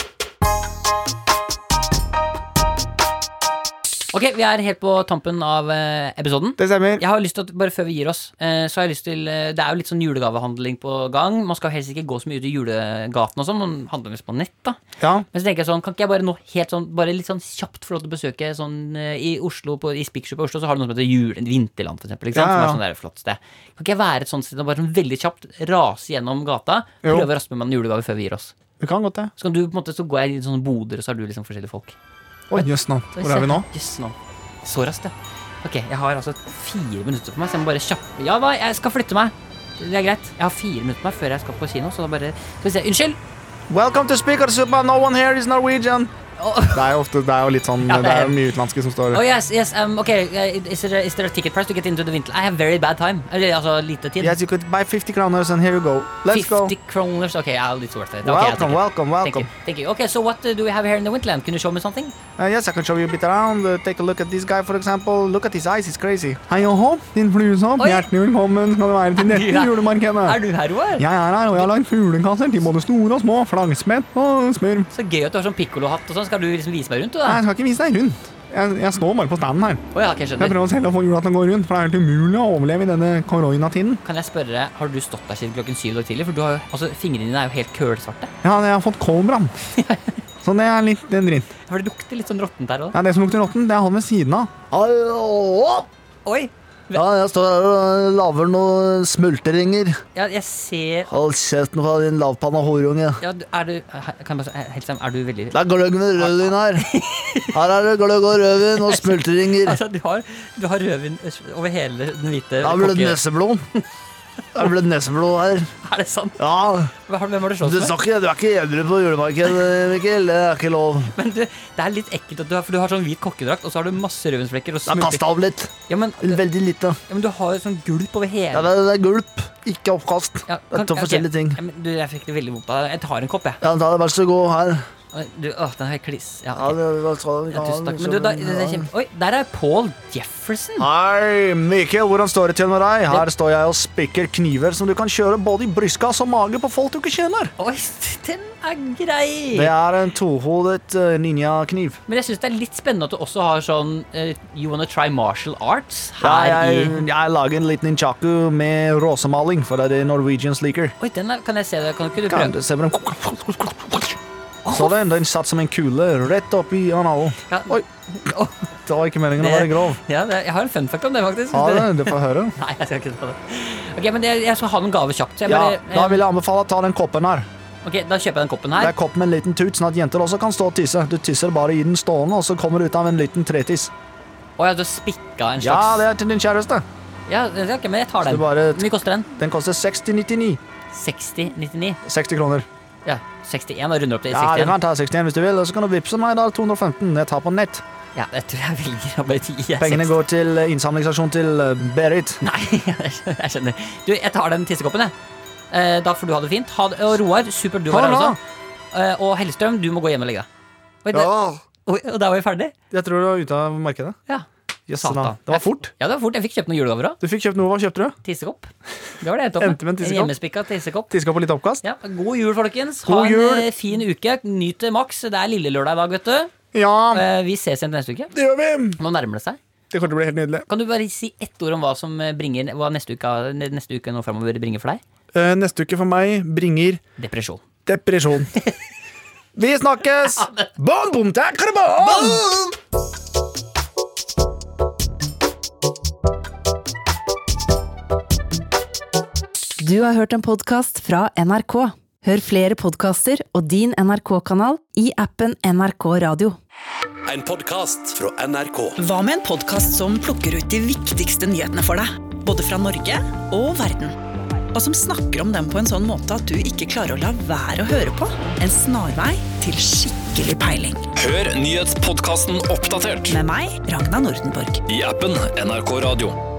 [SPEAKER 3] Ok, vi er helt på tampen av eh, episoden.
[SPEAKER 2] Det stemmer.
[SPEAKER 3] Jeg har lyst til at, Bare før vi gir oss, eh, så har jeg lyst til eh, Det er jo litt sånn julegavehandling på gang. Man skal jo helst ikke gå så mye ut i julegaten og sånn. Man handler mest på nett, da.
[SPEAKER 2] Ja.
[SPEAKER 3] Men så tenker jeg sånn, kan ikke jeg bare nå helt sånn Bare litt sånn kjapt få lov til å besøke sånn eh, i Oslo, på, i Spikersuppa i Oslo, så har du noe som heter Jule, Vinterland, for eksempel. Ikke
[SPEAKER 2] Ja,
[SPEAKER 3] sant?
[SPEAKER 2] ja.
[SPEAKER 3] Som er sånn der flott sted. Kan ikke jeg være et sånt sted og bare sånn veldig kjapt rase gjennom gata?
[SPEAKER 2] Jo.
[SPEAKER 3] Prøve å raspe med meg en julegave før vi gir oss.
[SPEAKER 2] Vi kan godt det.
[SPEAKER 3] Så kan du på en måte, så går jeg i sånne boder, og så har du liksom forskjellige folk.
[SPEAKER 2] Oi, jøss nå. Hvor er vi nå?
[SPEAKER 3] Jøss, nå. Så raskt, ja. Ok, jeg har altså fire minutter på meg, så jeg må bare kjappe Ja, hva? Jeg skal flytte meg. Det er greit. Jeg har fire minutter på meg før jeg skal på kino, så da bare Skal vi se. Unnskyld!
[SPEAKER 2] Welcome to Speaker Super. No one here is Norwegian.
[SPEAKER 3] Oh,
[SPEAKER 2] Det er jo ofte det er jo litt sånn
[SPEAKER 3] Ja, det
[SPEAKER 2] Det
[SPEAKER 3] er-
[SPEAKER 2] er jo mye utenlandske som står
[SPEAKER 3] oh yes, yes, um, ok uh, is, there, is there a ticket price to get into the winter? I have very bad time Eller altså lite tid
[SPEAKER 2] Yes, you could buy 50 kroner, and here you go. Let's
[SPEAKER 3] 50
[SPEAKER 2] go.
[SPEAKER 3] kroners Okay, I'll, it's worth it okay, I'll take
[SPEAKER 2] Welcome,
[SPEAKER 3] it.
[SPEAKER 2] welcome,
[SPEAKER 3] Thank you,
[SPEAKER 2] welcome.
[SPEAKER 3] thank you Okay, so what uh, do we have here in the Winterland? Can you show me something?
[SPEAKER 2] Uh, yes, I can show you a bit around. Uh, take a look at this guy, for example. Look at his eyes, he's crazy. Hei og hå, din fluesopp.
[SPEAKER 3] Oi.
[SPEAKER 2] Hjertelig velkommen skal du være til
[SPEAKER 3] Er du
[SPEAKER 2] dette
[SPEAKER 3] her? Er
[SPEAKER 2] julemarkedet.
[SPEAKER 3] du her, Roar?
[SPEAKER 2] Jeg er her, og jeg har lagd fuglekasser til både store og små. Flaggspett og smør.
[SPEAKER 3] Så gøy at du har sånn piccolo-hatt og sånn Skal du liksom vise meg rundt, du
[SPEAKER 2] Nei,
[SPEAKER 3] da?
[SPEAKER 2] Jeg skal ikke vise deg rundt. Jeg, jeg står bare på standen her.
[SPEAKER 3] Åja, ok, jeg
[SPEAKER 2] Jeg
[SPEAKER 3] skjønner
[SPEAKER 2] prøver selv å få jula til å gå rundt, for det er helt umulig å overleve i denne koronatiden.
[SPEAKER 3] Kan jeg spørre, har du stått der siden klokken syv i dag tidlig? For du har jo, altså, fingrene dine er jo helt kølsvarte
[SPEAKER 2] Ja, jeg har fått kolbrann. Så det er litt det er dritt.
[SPEAKER 3] For det lukter litt sånn råttent her også
[SPEAKER 2] Ja, det som lukter råtten, det er han ved siden av.
[SPEAKER 5] Ai, å,
[SPEAKER 3] Oi,
[SPEAKER 5] Ja, jeg står her og lager noen smultringer.
[SPEAKER 3] ja, jeg ser
[SPEAKER 5] Hold kjeften på din lavpanna horunge.
[SPEAKER 3] ja, du- er du, eh, kan jeg bare si, helt sammen, er du veldig
[SPEAKER 5] Det er gløgg med rødvin her. Her er det gløgg og rødvin og smultringer.
[SPEAKER 3] Altså, du har, du har rødvin eh, over hele den hvite
[SPEAKER 5] Det er blødd
[SPEAKER 3] kokke-
[SPEAKER 5] neseblod. Det er blødd neseblod her.
[SPEAKER 3] Er det sant?
[SPEAKER 5] Ja,
[SPEAKER 3] Hva har- Hvem har du slåss
[SPEAKER 5] du,
[SPEAKER 3] med?
[SPEAKER 5] sa ikke, du er ikke edru på julemarkedet, Mikkel. Det er ikke lov.
[SPEAKER 3] Men du, det er litt ekkelt at du har, for du har sånn hvit kokkedrakt, og så har du masse rødvinsflekker og
[SPEAKER 5] Jeg har
[SPEAKER 3] smulter.
[SPEAKER 5] kasta av litt.
[SPEAKER 3] Ja, men, ja,
[SPEAKER 5] Veldig lite.
[SPEAKER 3] men du har jo sånn gulp over hele
[SPEAKER 5] Ja, det, er, det er gulp, ikke oppkast.
[SPEAKER 3] Ja,
[SPEAKER 5] Det er
[SPEAKER 3] kan-
[SPEAKER 5] to
[SPEAKER 3] ok.
[SPEAKER 5] forskjellige ting.
[SPEAKER 3] Ja, men, du, jeg fikk det veldig vondt av deg. Jeg tar en kopp, jeg.
[SPEAKER 5] Ja, da er det vær så god her.
[SPEAKER 3] Du, å, den er kliss. Ja,
[SPEAKER 5] Ja,
[SPEAKER 3] ok.
[SPEAKER 5] det, hva skal vi
[SPEAKER 3] ja,
[SPEAKER 5] ha?
[SPEAKER 3] tusen takk. Men du, da, det er kjempe... Oi, der er Paul Jefferson.
[SPEAKER 5] Hei, Mikkel, hvordan står det til med deg? Her står jeg og spikker kniver som du kan kjøre både i brystkass og mage på folk du ikke kjenner.
[SPEAKER 3] Oi, den er grei!
[SPEAKER 5] Det er en tohodet eh, ninja-kniv.
[SPEAKER 3] Men jeg syns det er litt spennende at du også har sånn eh, You wanna try martial arts
[SPEAKER 5] Ja,
[SPEAKER 3] her
[SPEAKER 5] jeg,
[SPEAKER 3] i
[SPEAKER 5] jeg lager en liten ninjaku med råsemaling, for det er det Norwegian slicker.
[SPEAKER 3] Oi, den er, kan jeg se det? Kan ikke du
[SPEAKER 5] Kan
[SPEAKER 3] prøve?
[SPEAKER 5] du se på den? Så den, den satt som en kule rett opp i analen.
[SPEAKER 3] Ja,
[SPEAKER 5] Oi. Det var ikke meningen å være grov.
[SPEAKER 3] ja, det, jeg har en fun fact om det, faktisk.
[SPEAKER 5] Ja, det, du får høre.
[SPEAKER 3] Nei, jeg skal ikke ta det. Ok, men jeg, jeg skal ha noen gave kjapt. Så jeg
[SPEAKER 5] Ja,
[SPEAKER 3] bare,
[SPEAKER 5] da vil jeg anbefale å ta den koppen her.
[SPEAKER 3] eh, ok, da kjøper jeg den koppen
[SPEAKER 5] Det
[SPEAKER 3] her.
[SPEAKER 5] er kopp med en liten tut, sånn at jenter også kan stå og tisse. Du tisser bare i den stående, og så kommer du ut av en liten tretiss.
[SPEAKER 3] Å ja, du har spikka en
[SPEAKER 5] Ja,
[SPEAKER 3] slags
[SPEAKER 5] det er til din kjæreste.
[SPEAKER 3] Ja, det... ok, men jeg tar
[SPEAKER 5] Så
[SPEAKER 3] den.
[SPEAKER 5] du bare
[SPEAKER 3] Hvor mye koster den?
[SPEAKER 5] Den koster 60,99.
[SPEAKER 3] 60,99.
[SPEAKER 5] 60 kroner.
[SPEAKER 3] Ja, 61. Da runder jeg opp til
[SPEAKER 5] Ja, du
[SPEAKER 3] 61.
[SPEAKER 5] kan ta 61 hvis du vil, og så kan du vippse meg. Da er det 215. Jeg tar på nett.
[SPEAKER 3] Ja, jeg tror jeg velger å bare gi jeg
[SPEAKER 5] Pengene
[SPEAKER 3] 60.
[SPEAKER 5] går til eh, innsamlingsstasjonen til eh, Berit.
[SPEAKER 3] Nei, jeg skjønner. jeg skjønner. Du, jeg tar den tissekoppen, jeg. Eh, da får du ha det fint. Ha det. Og Roar, supert du
[SPEAKER 5] Ha
[SPEAKER 3] var
[SPEAKER 5] det
[SPEAKER 3] her
[SPEAKER 5] bra.
[SPEAKER 3] også. Eh, og Hellstrøm, du må gå hjem og legge deg. Oi, det- Oi, og der var vi ferdig?
[SPEAKER 2] Jeg tror du var ute av markedet.
[SPEAKER 3] Ja.
[SPEAKER 2] Jøss,
[SPEAKER 3] Satan.
[SPEAKER 2] da. Det var fort.
[SPEAKER 3] Ja, det var fort. Jeg fikk kjøpt noen julegaver òg.
[SPEAKER 2] Du fikk kjøpt noe. Hva kjøpte du?
[SPEAKER 3] Tissekopp. Det var det jeg endte opp
[SPEAKER 2] Endte med en tissekopp.
[SPEAKER 3] En hjemmespikka tissekopp.
[SPEAKER 2] Tiska på litt oppkast?
[SPEAKER 3] Ja, god jul, folkens.
[SPEAKER 2] God
[SPEAKER 3] ha en
[SPEAKER 2] jul.
[SPEAKER 3] eh, fin uke. Nyt det maks. Det er lille lørdag i dag, vet du.
[SPEAKER 2] Ja,
[SPEAKER 3] Eh, vi ses igjen neste uke.
[SPEAKER 2] det gjør vi!
[SPEAKER 3] Nå nærmer det seg.
[SPEAKER 2] Det kommer til å bli helt nydelig.
[SPEAKER 3] Kan du bare si ett ord om hva som eh, bringer Hva neste uke, neste uke nå fremover bringer for deg?
[SPEAKER 2] Eh, neste uke for meg bringer
[SPEAKER 3] Depresjon.
[SPEAKER 2] depresjon. vi snakkes! Bon, bom, tak, karabon!
[SPEAKER 1] Du har hørt en podkast fra NRK. Hør flere podkaster og din NRK-kanal i appen NRK Radio.
[SPEAKER 7] En podkast fra NRK.
[SPEAKER 8] Hva med en podkast som plukker ut de viktigste nyhetene for deg? Både fra Norge og verden. Og som snakker om dem på en sånn måte at du ikke klarer å la være å høre på. En snarvei til skikkelig peiling.
[SPEAKER 7] Hør nyhetspodkasten oppdatert
[SPEAKER 8] Med meg, Ragna Nordenborg.
[SPEAKER 7] i appen NRK Radio.